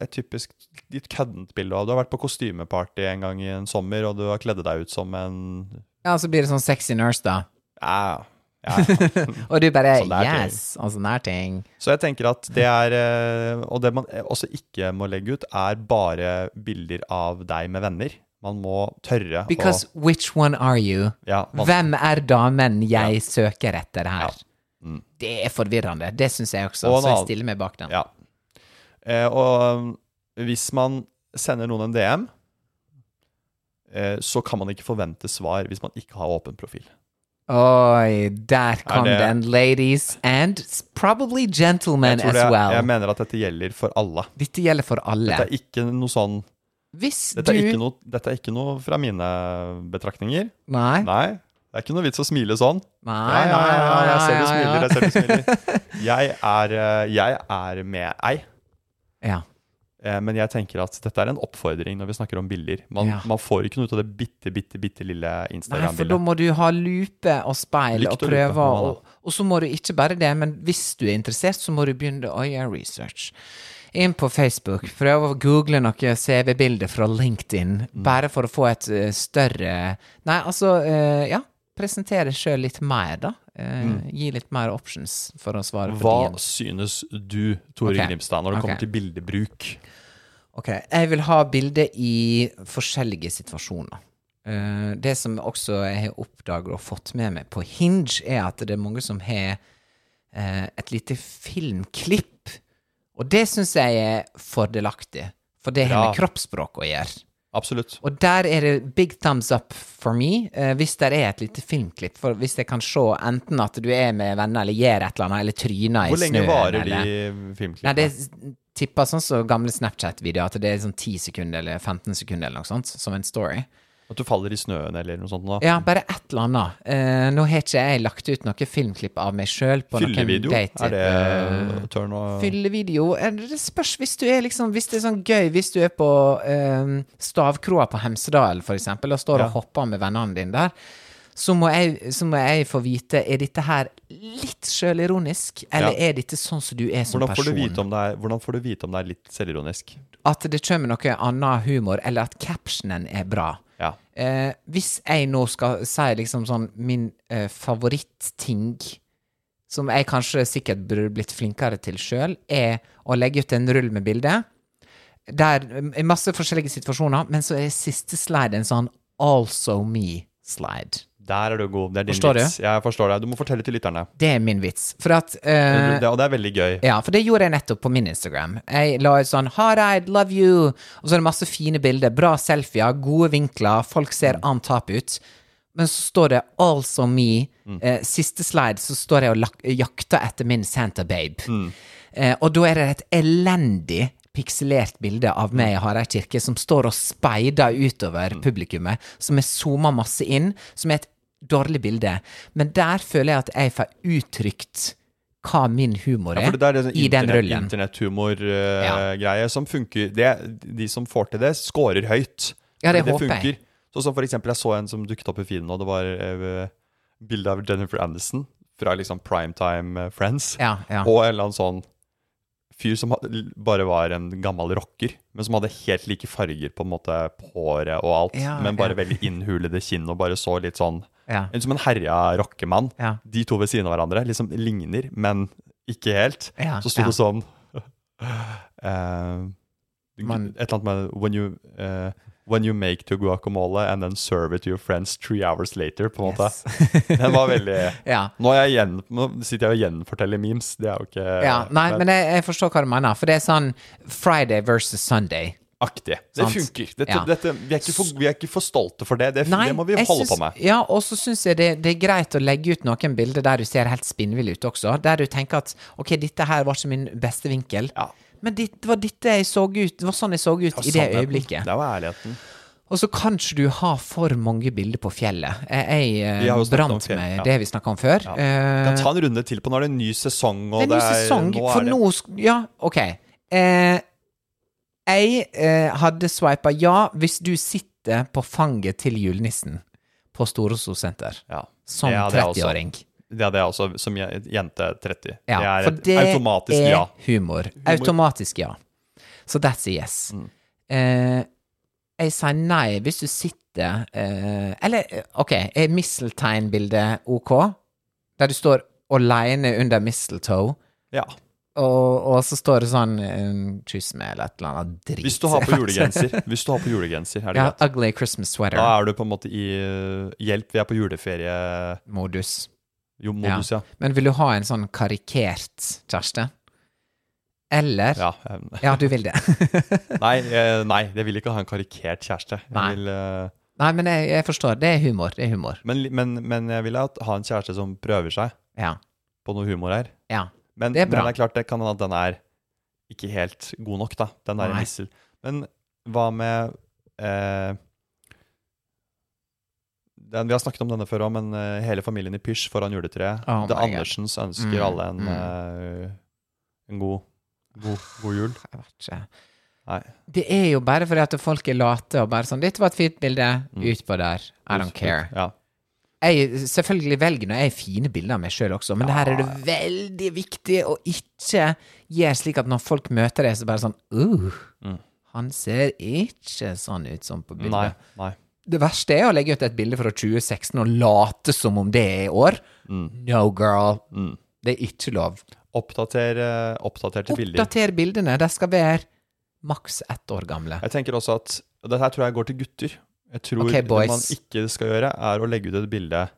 Speaker 1: et typisk litt køddent bilde av Du har vært på kostymeparty en gang i en sommer, og du har kledd deg ut som en
Speaker 2: Ja, så blir det sånn sexy nurse, da.
Speaker 1: ja, ja.
Speaker 2: Og du bare
Speaker 1: Sånn der ting.
Speaker 2: Yes! Og sånne her ting.
Speaker 1: Så jeg tenker at det er eh, Og det man også ikke må legge ut, er bare bilder av deg med venner. Man må tørre
Speaker 2: Because which one are you?
Speaker 1: Ja, vanskelig.
Speaker 2: Hvem er damen jeg
Speaker 1: Ja. Mm.
Speaker 2: søker etter her? Det er forvirrende. Det syns jeg også,
Speaker 1: Og en
Speaker 2: så jeg
Speaker 1: annen-
Speaker 2: stiller meg bak
Speaker 1: å
Speaker 2: den.
Speaker 1: Ja. Eh, og um, hvis man sender noen en DM, eh, så kan man ikke forvente svar hvis man ikke har åpen profil.
Speaker 2: Oi, der kom
Speaker 1: det-
Speaker 2: den, ladies and s- probably gentlemen
Speaker 1: Jeg, tror
Speaker 2: as
Speaker 1: det,
Speaker 2: well.
Speaker 1: jeg mener at dette gjelder for alle.
Speaker 2: Dette gjelder for alle.
Speaker 1: Dette er ikke noe sånn
Speaker 2: Hvis
Speaker 1: Dette er
Speaker 2: du
Speaker 1: ikke noe, dette er ikke noe fra mine betraktninger.
Speaker 2: Nei. Nei,
Speaker 1: Nei. Det er ikke noe vits å smile sånn.
Speaker 2: nei,
Speaker 1: Ja, ja,
Speaker 2: nei,
Speaker 1: ja, jeg ser du
Speaker 2: nei,
Speaker 1: smiler,
Speaker 2: nei.
Speaker 1: jeg ser du smiler. Jeg er, eh, jeg er med ei,
Speaker 2: Ja.
Speaker 1: eh, men jeg tenker at dette er en oppfordring når vi snakker om bilder. Man,
Speaker 2: Ja.
Speaker 1: man får ikke noe ut av det bitte, bitte, bitte lille
Speaker 2: Nei, for da
Speaker 1: Instagram-bildet.
Speaker 2: må du ha lupe og speil
Speaker 1: Lykt
Speaker 2: og
Speaker 1: og lupe, må
Speaker 2: prøve.
Speaker 1: man
Speaker 2: Og, og så må du ikke bare det, men hvis du er interessert, så må du begynne å gjøre research. Inn på Facebook, prøv å google noe CV-bilder fra LinkedIn,
Speaker 1: Mm.
Speaker 2: bare for å få et eh, større Nei, altså, eh, ja. Presentere sjøl litt mer, da. Eh, Gi litt mer options for å svare på
Speaker 1: Mm. Hva
Speaker 2: DMs.
Speaker 1: synes du, Tore
Speaker 2: Ok.
Speaker 1: Grimstad, når det kommer
Speaker 2: Ok.
Speaker 1: til bildebruk?
Speaker 2: Ok, jeg vil ha bilder i forskjellige situasjoner. Eh, det som også jeg har oppdaget og fått med meg på Hinge, er at det er mange som har eh, et lite filmklipp. Og det syns jeg er fordelaktig, for det har
Speaker 1: Bra.
Speaker 2: med kroppsspråk å gjøre.
Speaker 1: Absolutt.
Speaker 2: Og der er det big thumbs up for me eh, hvis det er et lite filmklipp. For hvis jeg kan se enten at du er med venner eller gjør et eller annet, eller tryner i
Speaker 1: Hvor
Speaker 2: snøen.
Speaker 1: lenge varer de
Speaker 2: eller- Nei, det
Speaker 1: filmklippene?
Speaker 2: tipper sånn som gamle Snapchat-videoer, at det er sånn 10 sekunder eller 15 sekunder eller noe sånt, som en story.
Speaker 1: At du faller i snøen eller noe sånt? Da.
Speaker 2: Ja, bare et eller annet. Eh, nå har ikke jeg lagt ut noe filmklipp av meg sjøl på
Speaker 1: Fyllevideo?
Speaker 2: noen date. eh,
Speaker 1: Er det turn og
Speaker 2: Fyllevideo Eh, Det spørs hvis du er liksom Hvis det er sånn gøy, hvis du er på eh, stavkroa på Hemsedal, for eksempel, og står
Speaker 1: Ja.
Speaker 2: og hopper med vennene dine der, så må, jeg, så må jeg få vite Er dette her litt sjølironisk, eller
Speaker 1: Ja.
Speaker 2: er dette sånn som du er som
Speaker 1: hvordan får,
Speaker 2: person?
Speaker 1: du vite om det er, hvordan får du vite om det er litt selvironisk?
Speaker 2: at det kommer noe annen humor, eller at captionen er bra.
Speaker 1: Ja.
Speaker 2: Eh, hvis jeg nå skal si liksom sånn min eh, favorittting, som jeg kanskje sikkert burde blitt flinkere til sjøl, er å legge ut en rull med bilder. Der i masse forskjellige situasjoner, men så er siste slide en sånn also me-slide.
Speaker 1: Der er du god. Det er din
Speaker 2: Forstår du?
Speaker 1: vits. Jeg forstår deg. Du må fortelle til lytterne.
Speaker 2: Det er min vits. For at eh,
Speaker 1: det, og det er veldig gøy.
Speaker 2: Ja, for det gjorde jeg nettopp på min Instagram. Jeg la ut sånn 'Hareid, love you', og så er det masse fine bilder, bra selfier, gode vinkler, folk ser on top ut. Men så står det 'also me'. Eh, siste slide så står jeg og lak jakter etter min Santa Babe. Eh, og da er det et elendig pikselert bilde av meg i Hareid kirke som står og speider utover publikummet, som er zooma masse inn, som er et dårlig bilde. Men der føler jeg at jeg får uttrykt hva min humor er,
Speaker 1: Ja, for det er det sånn
Speaker 2: i den
Speaker 1: internet,
Speaker 2: rullen.
Speaker 1: internethumor-greie som funker det, De som får til det, scorer høyt.
Speaker 2: Ja, det
Speaker 1: Fordi
Speaker 2: håper jeg.
Speaker 1: funker. Så, som for eksempel, jeg så en som dukket opp i feeden, og det var eh, bilde av Jennifer Aniston fra liksom Primetime eh, Friends.
Speaker 2: Ja, ja.
Speaker 1: Og en eller annen sånn fyr som hadde, bare var en gammel rocker, men som hadde helt like farger på en måte på håret og alt,
Speaker 2: Ja,
Speaker 1: men bare
Speaker 2: ja.
Speaker 1: veldig innhulede kinn og bare så litt sånn
Speaker 2: Ja.
Speaker 1: en- Som en herja rockemann.
Speaker 2: Ja.
Speaker 1: De to ved siden av hverandre liksom ligner, men ikke helt.
Speaker 2: Ja,
Speaker 1: Så sto
Speaker 2: ja.
Speaker 1: det sånn eh,
Speaker 2: Man-
Speaker 1: Et eller annet med when you, eh, when you make to guacamole and then serve it to your friends three hours later, på en måte. Den var veldig
Speaker 2: Ja.
Speaker 1: nå, er jeg igjen, nå sitter jeg og gjenforteller memes. Det er jo ikke
Speaker 2: ja. Nei, men jeg, jeg forstår hva du mener, for det er sånn Friday versus Sunday.
Speaker 1: aktig. Det
Speaker 2: Sant.
Speaker 1: funker. Dette,
Speaker 2: Ja.
Speaker 1: dette, vi, er ikke for, vi er ikke for stolte for det. Det,
Speaker 2: Nei,
Speaker 1: det må vi
Speaker 2: jeg
Speaker 1: holde
Speaker 2: syns-
Speaker 1: på med.
Speaker 2: Ja, og så syns jeg det, det er greit å legge ut noen bilder der du ser helt spinnvill ut også, der du tenker at ok, dette her var ikke min beste vinkel.
Speaker 1: Ja.
Speaker 2: Men det var dette jeg så ut, det var sånn jeg så ut i det
Speaker 1: Sannheten.
Speaker 2: øyeblikket.
Speaker 1: Det var ærligheten.
Speaker 2: Og så kan ikke du ha for mange bilder på fjellet. Jeg, jeg
Speaker 1: Vi har jo
Speaker 2: eh,
Speaker 1: snakket om
Speaker 2: brant
Speaker 1: fjell,
Speaker 2: meg,
Speaker 1: ja.
Speaker 2: det har vi snakka om før.
Speaker 1: Vi
Speaker 2: Eh,
Speaker 1: kan ta en runde til på nå er det en ny sesong. Og
Speaker 2: det er ny sesong,
Speaker 1: nå
Speaker 2: for
Speaker 1: er det,
Speaker 2: nå sk- Ja, ok. Eh, jeg eh, hadde swipa ja hvis du sitter på fanget til julenissen på Storoslo senter
Speaker 1: ja.
Speaker 2: som
Speaker 1: Ja, det er også-
Speaker 2: 30-åring.
Speaker 1: Ja, det er også som je- jente 30.
Speaker 2: Ja,
Speaker 1: det er
Speaker 2: for
Speaker 1: et
Speaker 2: det
Speaker 1: automatisk
Speaker 2: er
Speaker 1: ja.
Speaker 2: humor. Automatisk ja. Så that's a yes.
Speaker 1: Mm.
Speaker 2: Eh, jeg sier nei hvis du sitter eh, Eller eh, ok, er misselteinbildet ok? Der du står aleine under mistletoe,
Speaker 1: Ja.
Speaker 2: og, og så står det sånn eh, 'kyss meg' eller et eller annet drit.
Speaker 1: Hvis du har på julegenser, hvis du har på julegenser, er det
Speaker 2: ja,
Speaker 1: greit.
Speaker 2: ugly Christmas sweater.
Speaker 1: Da er du på en måte i eh, Hjelp, vi er på juleferie
Speaker 2: Modus.
Speaker 1: Jo, modus, ja.
Speaker 2: Men vil du ha en sånn karikert kjæreste? Eller
Speaker 1: Ja, eh,
Speaker 2: Ja, du vil det.
Speaker 1: Nei, eh, nei, jeg vil ikke ha en karikert kjæreste.
Speaker 2: Nei.
Speaker 1: Jeg vil, eh,
Speaker 2: Nei, men jeg, jeg forstår. Det er humor. Det er humor.
Speaker 1: men, li- men, men jeg vil at- ha en kjæreste som prøver seg
Speaker 2: Ja.
Speaker 1: på noe humor her.
Speaker 2: ja.
Speaker 1: Men
Speaker 2: Det
Speaker 1: det
Speaker 2: er
Speaker 1: er,
Speaker 2: bra.
Speaker 1: Men det er klart det kan hende at den er ikke helt god nok, da. Den der
Speaker 2: Nei.
Speaker 1: missel. Men hva med eh, den, Vi har snakket om denne før òg, men eh, hele familien i pysj foran juletreet.
Speaker 2: Oh
Speaker 1: det
Speaker 2: my God.
Speaker 1: Andersens ønsker
Speaker 2: Mm,
Speaker 1: alle en,
Speaker 2: mm.
Speaker 1: eh, en god, god, god jul.
Speaker 2: Jeg vet ikke.
Speaker 1: Nei.
Speaker 2: Det er jo bare fordi at folk er late og bare sånn 'Dette var et fint bilde. Ut på der.
Speaker 1: Mm.
Speaker 2: I don't care'.
Speaker 1: Ja.
Speaker 2: Jeg selvfølgelig velger når jeg har fine bilder av meg sjøl også, men det her er det veldig viktig å ikke gjøre slik at når folk møter deg, så bare sånn uh, Han ser ikke sånn ut som på bildet.
Speaker 1: Mm. Nei. nei.
Speaker 2: Det verste er å legge ut et bilde fra 2016 og late som om det er i år.
Speaker 1: Mm.
Speaker 2: No, girl. Det er ikke lov.
Speaker 1: Oppdater, eh, oppdaterte bilder.
Speaker 2: Oppdater bildene. De skal være maks ett år gamle.
Speaker 1: Jeg tenker også at og Dette her tror jeg går til gutter. Jeg tror
Speaker 2: Ok,
Speaker 1: det
Speaker 2: boys.
Speaker 1: man ikke skal gjøre, er å legge ut et bilde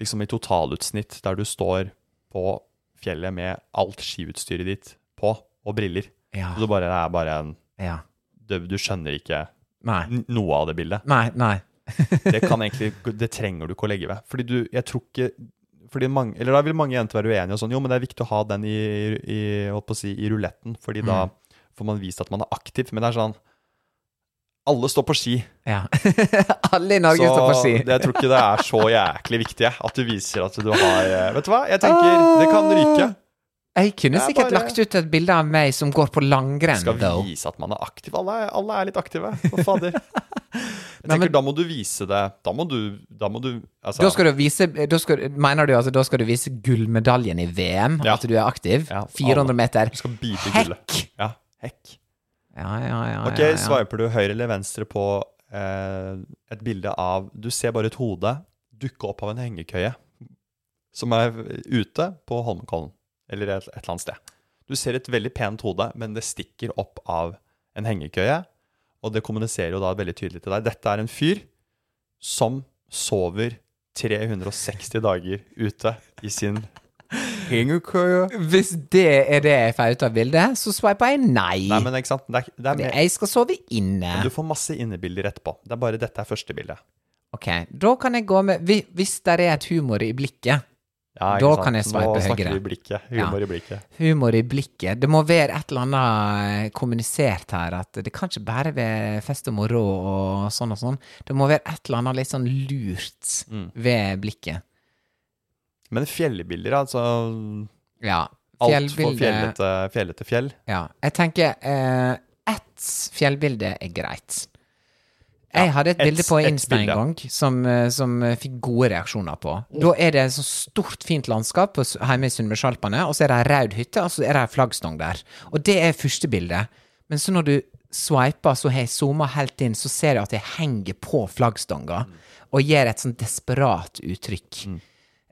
Speaker 1: liksom i totalutsnitt, der du står på fjellet med alt skiutstyret ditt på, og briller.
Speaker 2: Ja.
Speaker 1: Så det bare, det er bare en
Speaker 2: ja.
Speaker 1: Du, du skjønner ikke
Speaker 2: Nei.
Speaker 1: n- noe av det bildet.
Speaker 2: Nei, nei.
Speaker 1: Det kan egentlig Det trenger du ikke å legge ved. Fordi du Jeg tror ikke fordi mange, eller Da vil mange jenter være uenige og sånn Jo, men det er viktig å ha den i, i, holdt på å si, i ruletten, fordi da
Speaker 2: Mm.
Speaker 1: får man vist at man er aktiv. Men det er sånn Alle står på ski.
Speaker 2: Ja. Alle i Norge
Speaker 1: så
Speaker 2: står på ski.
Speaker 1: det- jeg tror ikke det er så jæklig viktig jeg, at du viser at du har eh, Vet du hva, jeg tenker det kan ryke.
Speaker 2: Jeg kunne
Speaker 1: Det er
Speaker 2: sikkert
Speaker 1: bare-
Speaker 2: lagt ut et bilde av meg som går på langrenn,
Speaker 1: Skal
Speaker 2: though.
Speaker 1: vise at man er aktiv. Alle er, alle er litt aktive. Hva fader? Jeg
Speaker 2: Nei,
Speaker 1: tenker
Speaker 2: men-
Speaker 1: Da må du vise det. Da må du, da må du altså,
Speaker 2: Da skal du vise da skal, Mener du altså da skal du vise gullmedaljen i VM?
Speaker 1: Ja.
Speaker 2: At du er aktiv?
Speaker 1: Ja,
Speaker 2: 400
Speaker 1: alle.
Speaker 2: meter.
Speaker 1: du skal bite i gullet.
Speaker 2: Hekk!
Speaker 1: Ja, hekk.
Speaker 2: Ja, ja, ja.
Speaker 1: Ok,
Speaker 2: ja, ja.
Speaker 1: swiper du høyre eller venstre på eh, et bilde av Du ser bare et hode dukke opp av en hengekøye som er ute på Holmenkollen eller et, et eller annet sted. Du ser et veldig pent hode, men det stikker opp av en hengekøye, og det kommuniserer jo da veldig tydelig til deg. Dette er en fyr som sover 360 dager ute i sin hengekøye.
Speaker 2: Hvis det er det jeg får ut av bildet, så swiper jeg nei.
Speaker 1: Nei, men ikke sant? Det er, det er
Speaker 2: Fordi
Speaker 1: mer,
Speaker 2: jeg skal sove inne.
Speaker 1: du får masse innebilder etterpå. Det er bare dette er første bildet.
Speaker 2: Ok, da kan jeg gå med hvi- Hvis det er et humor i blikket
Speaker 1: Ja, ikke
Speaker 2: Da
Speaker 1: sant?
Speaker 2: kan jeg sveipe
Speaker 1: Nå snakker
Speaker 2: høyre.
Speaker 1: vi i blikket. Humor i blikket.
Speaker 2: Humor i blikket. Det må være et eller annet eh, kommunisert her. At det kan ikke bare være fest og moro og sånn og sånn. Det må være et eller annet litt sånn lurt ved blikket.
Speaker 1: Men fjellbilder, altså
Speaker 2: Ja.
Speaker 1: Altfor
Speaker 2: fjellbildet-
Speaker 1: fjellete, fjellete fjell.
Speaker 2: Ja. Jeg tenker eh, ett fjellbilde er greit. Jeg hadde et
Speaker 1: ett-
Speaker 2: bilde på
Speaker 1: ett
Speaker 2: Insta en
Speaker 1: bilde.
Speaker 2: gang som, eh, som eh, fikk gode reaksjoner på. Da er det et så stort, fint landskap på, s- hjemme i Sunnmørsalpene, og så er det ei raud hytte, og så er det ei flaggstang der. Og det er første bildet. Men så når du sveiper, så har jeg zooma helt inn, så ser jeg at jeg henger på flaggstanga, og gir et sånn desperat uttrykk.
Speaker 1: Mm.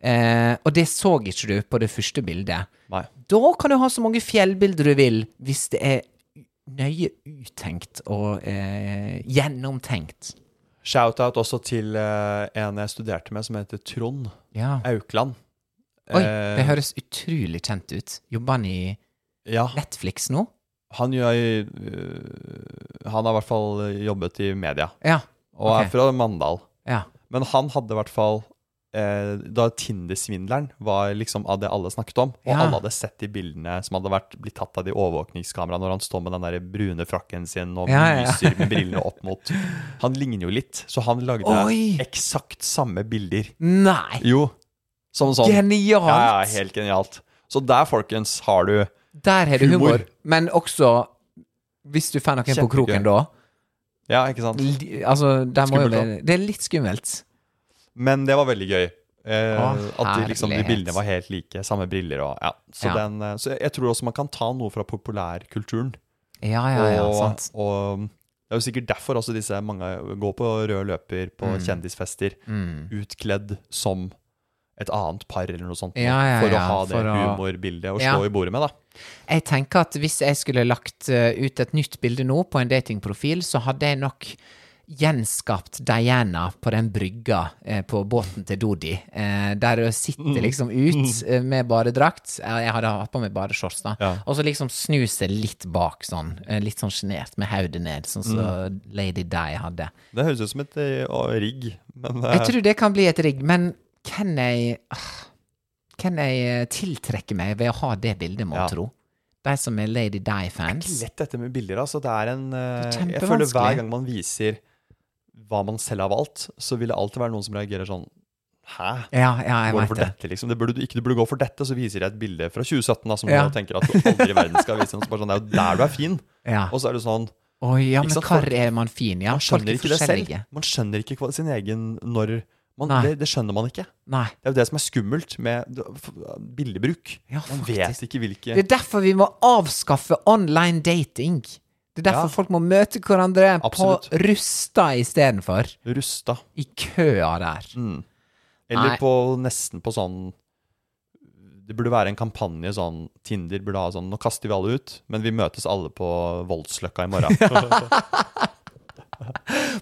Speaker 2: Eh, og det så ikke du på det første bildet.
Speaker 1: Nei.
Speaker 2: Da kan du ha så mange fjellbilder du vil, hvis det er nøye uttenkt og eh, gjennomtenkt.
Speaker 1: Shout-out også til eh, en jeg studerte med, som heter Trond
Speaker 2: Ja.
Speaker 1: Aukland.
Speaker 2: Oi,
Speaker 1: Eh,
Speaker 2: det høres utrolig kjent ut. Jobber han i
Speaker 1: Ja,
Speaker 2: Netflix nå?
Speaker 1: han gjør eh, Han har i hvert fall jobbet i media,
Speaker 2: Ja.
Speaker 1: og
Speaker 2: ok.
Speaker 1: er fra Mandal.
Speaker 2: ja.
Speaker 1: Men han hadde i hvert fall eh, Da Tinder-svindleren var liksom av det alle snakket om, og
Speaker 2: Ja.
Speaker 1: alle hadde sett de bildene som hadde vært, blitt tatt av de overvåkningskameraene når han står med den der brune frakken sin og
Speaker 2: Ja, ja, ja.
Speaker 1: myser med brillene opp mot Han ligner jo litt, så han lagde
Speaker 2: Oi!
Speaker 1: eksakt samme bilder.
Speaker 2: Nei!
Speaker 1: Jo, som sånn.
Speaker 2: Genialt!
Speaker 1: Ja, ja, helt genialt. Så der, folkens, har du
Speaker 2: Der har du humor.
Speaker 1: Humor.
Speaker 2: Men også hvis du får noen på
Speaker 1: Kjempegøy.
Speaker 2: kroken da.
Speaker 1: Ja, ikke sant?
Speaker 2: li- Altså, der må jo
Speaker 1: Skummelt, da.
Speaker 2: være Det er litt skummelt.
Speaker 1: Men det var veldig gøy. Eh,
Speaker 2: Å,
Speaker 1: at de, liksom, de
Speaker 2: herlighet.
Speaker 1: bildene var helt like. Samme briller og ja. Så,
Speaker 2: Ja.
Speaker 1: Den, eh, så jeg- jeg tror også man kan ta noe fra populærkulturen.
Speaker 2: Ja, ja, ja.
Speaker 1: og,
Speaker 2: Sant.
Speaker 1: og det er jo sikkert derfor også disse
Speaker 2: Mm.
Speaker 1: mange går på rød løper på kjendisfester utkledd som et annet par eller noe sånt
Speaker 2: Ja, ja,
Speaker 1: for å
Speaker 2: ja,
Speaker 1: ha det
Speaker 2: for å-
Speaker 1: humorbildet å
Speaker 2: Ja.
Speaker 1: slå i bordet med, da.
Speaker 2: Jeg tenker at hvis jeg skulle lagt eh, ut et nytt bilde nå på en datingprofil, så hadde jeg nok gjenskapt Diana på den brygga eh, på båten til Dodi. Eh, der hun sitter
Speaker 1: Mm.
Speaker 2: liksom ut eh, med badedrakt. Eh, Jeg hadde hatt på meg badeshorts, da.
Speaker 1: Ja.
Speaker 2: Og så liksom snu seg litt bak, sånn. eh, Litt sånn sjenert, med hodet ned, sånn som
Speaker 1: Mm.
Speaker 2: Lady Di hadde.
Speaker 1: Det høres ut som et eh, å, rigg, men eh,
Speaker 2: Jeg tror det kan bli et rigg, men kan jeg ah, Kan jeg eh, tiltrekke meg ved å ha det bildet, må
Speaker 1: Ja.
Speaker 2: tro? De som er Lady
Speaker 1: ikke
Speaker 2: Di-fans.
Speaker 1: lett dette med bilder, altså. Det er en eh,
Speaker 2: Det er
Speaker 1: Jeg føler
Speaker 2: kjempevanskelig.
Speaker 1: hver gang man viser hva man selv har valgt, så vil det alltid være noen som reagerer sånn Hæ?
Speaker 2: Ja, ja, jeg
Speaker 1: Går du
Speaker 2: vet
Speaker 1: for
Speaker 2: det.
Speaker 1: dette, liksom? Det burde du ikke. Du burde gå for dette. Så viser jeg et bilde fra 2017 da, som
Speaker 2: Ja.
Speaker 1: du tenker at du aldri i verden skal vise. noen, Så bare sånn, det er jo der du er fin.
Speaker 2: Ja.
Speaker 1: Og så er det sånn
Speaker 2: Oi, ja,
Speaker 1: Ikke
Speaker 2: men
Speaker 1: sant,
Speaker 2: hvor
Speaker 1: folk-
Speaker 2: er man fin? Ja,
Speaker 1: Man
Speaker 2: folk
Speaker 1: skjønner
Speaker 2: er
Speaker 1: ikke det selv.
Speaker 2: forskjellige.
Speaker 1: Man skjønner ikke hva- sin egen når man,
Speaker 2: Nei.
Speaker 1: det, det skjønner man ikke.
Speaker 2: Nei.
Speaker 1: Det er jo det som er skummelt med d- f- bildebruk.
Speaker 2: Ja,
Speaker 1: man
Speaker 2: faktisk.
Speaker 1: vet ikke hvilke
Speaker 2: Det er derfor vi må avskaffe online dating. Det er derfor
Speaker 1: Ja.
Speaker 2: folk må møte hverandre
Speaker 1: Absolutt.
Speaker 2: på Rusta istedenfor.
Speaker 1: rusta.
Speaker 2: I køa der.
Speaker 1: Mm. Eller
Speaker 2: Nei.
Speaker 1: på nesten på sånn Det burde være en kampanje sånn Tinder burde ha sånn Nå kaster vi alle ut, men vi møtes alle på Voldsløkka i morgen.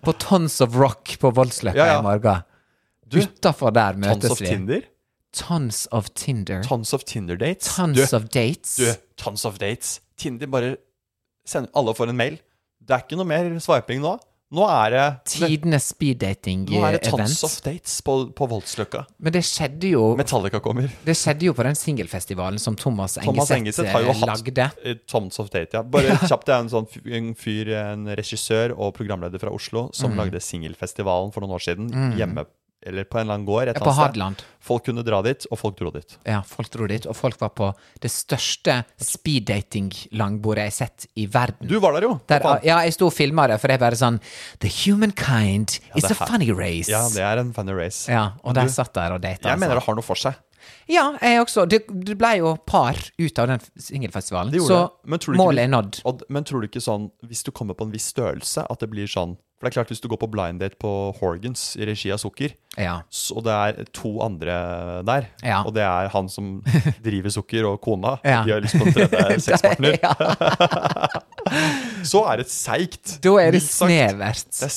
Speaker 2: På Tons of Rock på Voldsløkka
Speaker 1: Ja, ja.
Speaker 2: i morgen.
Speaker 1: Du,
Speaker 2: Utafor der
Speaker 1: Tons
Speaker 2: møtes
Speaker 1: of
Speaker 2: vi.
Speaker 1: Tinder?
Speaker 2: Tons of Tinder.
Speaker 1: Tons of Tinder dates?
Speaker 2: Tons of dates.
Speaker 1: Du, tons of dates. Tinder bare sender Alle får en mail. Det er ikke noe mer swiping nå. Nå er det
Speaker 2: Tidenes speeddating
Speaker 1: Nå er det tons of
Speaker 2: event.
Speaker 1: dates på, på Voldsløkka.
Speaker 2: Men det skjedde jo
Speaker 1: Metallica kommer.
Speaker 2: Det skjedde jo på den singelfestivalen som Thomas
Speaker 1: Thomas
Speaker 2: Engeseth
Speaker 1: Engeseth har jo
Speaker 2: eh,
Speaker 1: hatt
Speaker 2: lagde.
Speaker 1: eh, Tons of Date, ja. Bare kjapt, det er en sånn f- en fyr, en regissør og programleder fra Oslo, som
Speaker 2: Mm.
Speaker 1: lagde Singelfestivalen for noen år siden, hjemme eller på en eller annen gård. et eller
Speaker 2: Ja, på
Speaker 1: annet sted.
Speaker 2: Hadeland.
Speaker 1: Folk kunne dra dit, og folk dro dit.
Speaker 2: Ja, folk dro dit, og folk var på det største speeddating-langbordet jeg har sett i verden.
Speaker 1: Du var der jo!
Speaker 2: Der,
Speaker 1: for faen.
Speaker 2: ja, jeg sto og filma det, for jeg bare sånn The humankind is
Speaker 1: det
Speaker 2: a
Speaker 1: er-
Speaker 2: funny race.
Speaker 1: Ja, det er en funny race.
Speaker 2: Ja, og de
Speaker 1: Du,
Speaker 2: satt der og data.
Speaker 1: Jeg mener det har noe for seg.
Speaker 2: Ja, jeg også. Det, det ble jo par ut av den singelfestivalen,
Speaker 1: Det gjorde
Speaker 2: så
Speaker 1: det. Men tror du ikke
Speaker 2: målet
Speaker 1: vi-
Speaker 2: er nådd.
Speaker 1: Og, men tror du ikke sånn, hvis du kommer på en viss størrelse, at det blir sånn For det er klart, hvis du går på blind date på Horgans i regi av Sukker,
Speaker 2: Ja.
Speaker 1: s- og det er to andre der,
Speaker 2: Ja.
Speaker 1: og det er han som driver Sukker, og kona,
Speaker 2: Ja.
Speaker 1: de har lyst på en tredje sexpartner,
Speaker 2: ja,
Speaker 1: så er det seigt.
Speaker 2: da er det
Speaker 1: mildt sagt.
Speaker 2: snevert.
Speaker 1: Det er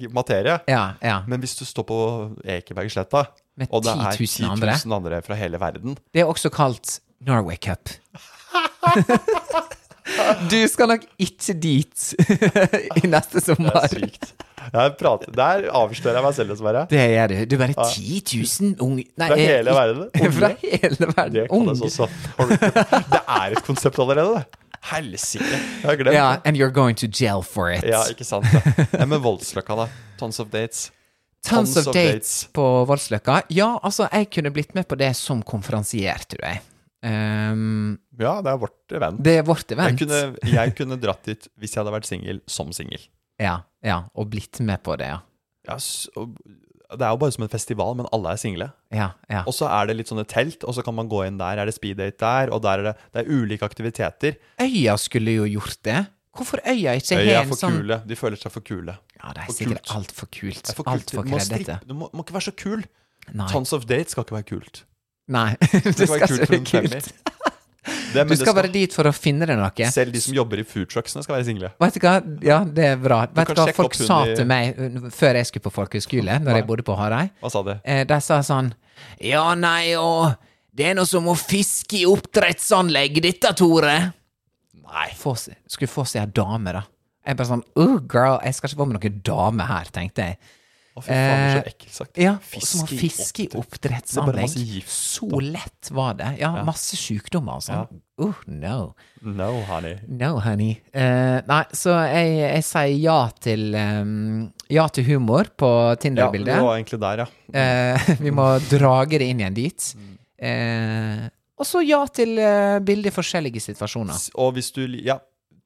Speaker 1: seg materie.
Speaker 2: Ja, ja.
Speaker 1: Men hvis du står på Ekebergsletta,
Speaker 2: Med
Speaker 1: og det er
Speaker 2: 10
Speaker 1: 10
Speaker 2: 000 andre.
Speaker 1: 000 andre fra hele verden
Speaker 2: Det er også kalt Norway Cup. du skal nok ikke dit i neste
Speaker 1: Det
Speaker 2: sommer.
Speaker 1: er sykt. Jeg prater, der avslører jeg meg selv, dessverre.
Speaker 2: Det gjør du. Du er bare 10 000 unge Nei,
Speaker 1: Fra
Speaker 2: eh,
Speaker 1: hele verden. Unge.
Speaker 2: Fra hele
Speaker 1: Det
Speaker 2: verden.
Speaker 1: kalles
Speaker 2: Unge.
Speaker 1: også Det er et konsept allerede, det. Helsike. Jeg har glemt
Speaker 2: Ja,
Speaker 1: det.
Speaker 2: and you're going to jail for it.
Speaker 1: Ja, ikke sant. Det. Ja, men Voldsløkka, da. Tons of dates.
Speaker 2: Tons of
Speaker 1: of
Speaker 2: dates
Speaker 1: dates.
Speaker 2: på Voldsløkka. Ja, altså, jeg kunne blitt med på det som konferansier, tror jeg. Ehm,
Speaker 1: Ja, det er vårt event.
Speaker 2: det er vårt
Speaker 1: Jeg
Speaker 2: event.
Speaker 1: kunne, jeg kunne dratt dit hvis jeg hadde vært singel som singel.
Speaker 2: Ja, ja, og blitt med på det, ja.
Speaker 1: Ja, s- og- det er jo bare som en festival, men alle er single.
Speaker 2: Ja, ja.
Speaker 1: Og så er det litt sånne telt, og så kan man gå inn der. Er det speeddate der? Og der er det, det er ulike aktiviteter.
Speaker 2: Øya skulle jo gjort det. Hvorfor Øya ikke
Speaker 1: Øya
Speaker 2: har
Speaker 1: er
Speaker 2: en
Speaker 1: for
Speaker 2: sånn
Speaker 1: kule. De føler seg for kule.
Speaker 2: Ja, det er
Speaker 1: For
Speaker 2: sikkert
Speaker 1: kult.
Speaker 2: altfor kult.
Speaker 1: Det er for kult.
Speaker 2: Altfor
Speaker 1: Du må
Speaker 2: kreddete.
Speaker 1: strippe- Du må, må ikke være så kul.
Speaker 2: Nei.
Speaker 1: Tons of dates skal ikke være kult.
Speaker 2: Nei, det skal
Speaker 1: være
Speaker 2: ikke være
Speaker 1: for en
Speaker 2: kult.
Speaker 1: femmer. Det, men
Speaker 2: Du
Speaker 1: det
Speaker 2: skal bare dit for å finne deg noe.
Speaker 1: Selv de som jobber i foodtrucksene, skal være single.
Speaker 2: Vet du hva? Ja, det er bra. Vet
Speaker 1: kan
Speaker 2: du hva
Speaker 1: sjekke
Speaker 2: folk
Speaker 1: opp hun
Speaker 2: sa
Speaker 1: i-
Speaker 2: til meg uh, før jeg skulle på folkehøyskole, når jeg bodde på Hareid?
Speaker 1: Hva sa de?
Speaker 2: Eh, De sa sånn Ja, nei, og Det er noe som å fiske i oppdrettsanlegg, dette, Tore. Nei. Få, se- skulle få seg ei dame, da. Jeg bare sånn Oh, girl, jeg skal ikke få med noen dame her, tenkte jeg.
Speaker 1: Å, fy faen,
Speaker 2: eh,
Speaker 1: så ekkelt sagt.
Speaker 2: Ja,
Speaker 1: Fisk
Speaker 2: som å
Speaker 1: i
Speaker 2: fiske i
Speaker 1: oppdrett. Det er bare
Speaker 2: oppdrettsanlegg.
Speaker 1: masse gift,
Speaker 2: Så lett var det. Ja, masse sykdommer og sånn. Oh, no.
Speaker 1: No, honey.
Speaker 2: No, honey. Eh, nei, så jeg, jeg sier ja til um, Ja til humor på
Speaker 1: Ja, det
Speaker 2: Tinder-bildet.
Speaker 1: var egentlig der, ja.
Speaker 2: Eh, vi må drage det inn igjen dit.
Speaker 1: Mm.
Speaker 2: Eh, og så ja til uh, bilde i forskjellige situasjoner.
Speaker 1: S- Og hvis du li- Ja,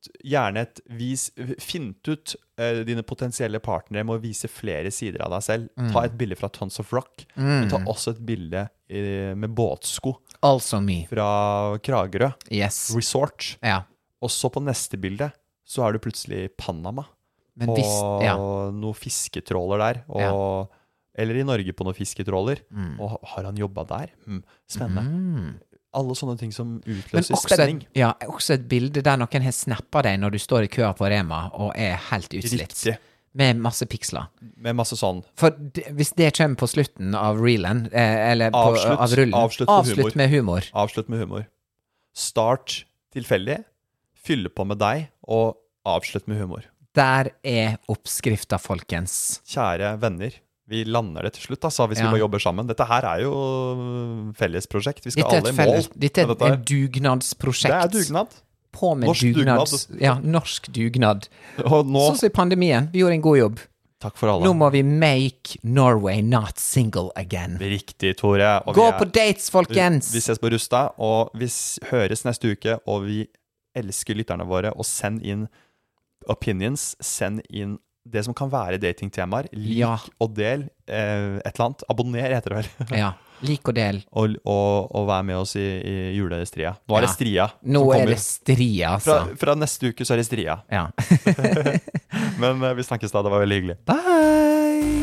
Speaker 1: t- gjerne et vis Fint ut eh, dine potensielle partnere med å vise flere sider av deg selv.
Speaker 2: Mm.
Speaker 1: Ta et bilde fra Tons of Rock, men ta også et bilde eh, med båtsko
Speaker 2: Also Altså me.
Speaker 1: fra Kragerø
Speaker 2: Yes.
Speaker 1: Resort.
Speaker 2: Ja.
Speaker 1: Og så på neste bilde så er du plutselig i Panama.
Speaker 2: Men
Speaker 1: og
Speaker 2: hvis Ja.
Speaker 1: noen fisketråler der, og Eller i Norge på noen fisketråler.
Speaker 2: Mm.
Speaker 1: Og har han jobba der? Mm. Spennende. Alle sånne ting som
Speaker 2: Men
Speaker 1: utløser
Speaker 2: også
Speaker 1: spenning.
Speaker 2: et, ja, også et bilde der noen har snappa deg når du står i køa på Rema og er helt utslitt.
Speaker 1: Riktig.
Speaker 2: Med masse piksler.
Speaker 1: Med masse sånn
Speaker 2: For d- hvis det kommer på slutten av reelen, eh, eller på,
Speaker 1: Avslutt-
Speaker 2: av rullen
Speaker 1: avslutt med humor.
Speaker 2: med humor.
Speaker 1: Avslutt med humor. Start tilfeldig, fylle på med deg, og avslutt med humor.
Speaker 2: Der er oppskrifta, folkens.
Speaker 1: Kjære venner, vi lander det til slutt, altså, hvis
Speaker 2: Ja.
Speaker 1: vi bare jobber sammen. Dette her er jo fellesprosjekt. Vi skal
Speaker 2: Dette
Speaker 1: alle
Speaker 2: er, et
Speaker 1: i mål.
Speaker 2: felles, dette er
Speaker 1: med
Speaker 2: et,
Speaker 1: dette her.
Speaker 2: et dugnadsprosjekt.
Speaker 1: det er dugnad.
Speaker 2: På med
Speaker 1: Norsk
Speaker 2: dugnads,
Speaker 1: dugnad.
Speaker 2: Ja, norsk dugnad.
Speaker 1: Og nå
Speaker 2: Sånn som i pandemien. Vi gjorde en god jobb.
Speaker 1: Takk for alle.
Speaker 2: Nå må vi make Norway not single again.
Speaker 1: Riktig, Tore. og vi
Speaker 2: Gå
Speaker 1: er-
Speaker 2: på dates, folkens!
Speaker 1: Vi ses på Rusta, og vi s- høres neste uke. Og vi elsker lytterne våre. Og send inn opinions. Send inn det som kan være datingtemaer. Lik
Speaker 2: Ja.
Speaker 1: og del eh, et eller annet. Abonner, heter det vel.
Speaker 2: Ja. Lik og del.
Speaker 1: og, og, og vær med oss i, i julestria. Nå er
Speaker 2: Ja.
Speaker 1: det stria
Speaker 2: Nå
Speaker 1: som
Speaker 2: er
Speaker 1: kommer.
Speaker 2: det stri,
Speaker 1: fra,
Speaker 2: altså.
Speaker 1: fra neste uke så er det stria.
Speaker 2: Ja.
Speaker 1: Men eh, vi snakkes da. Det var veldig hyggelig.
Speaker 2: Bye!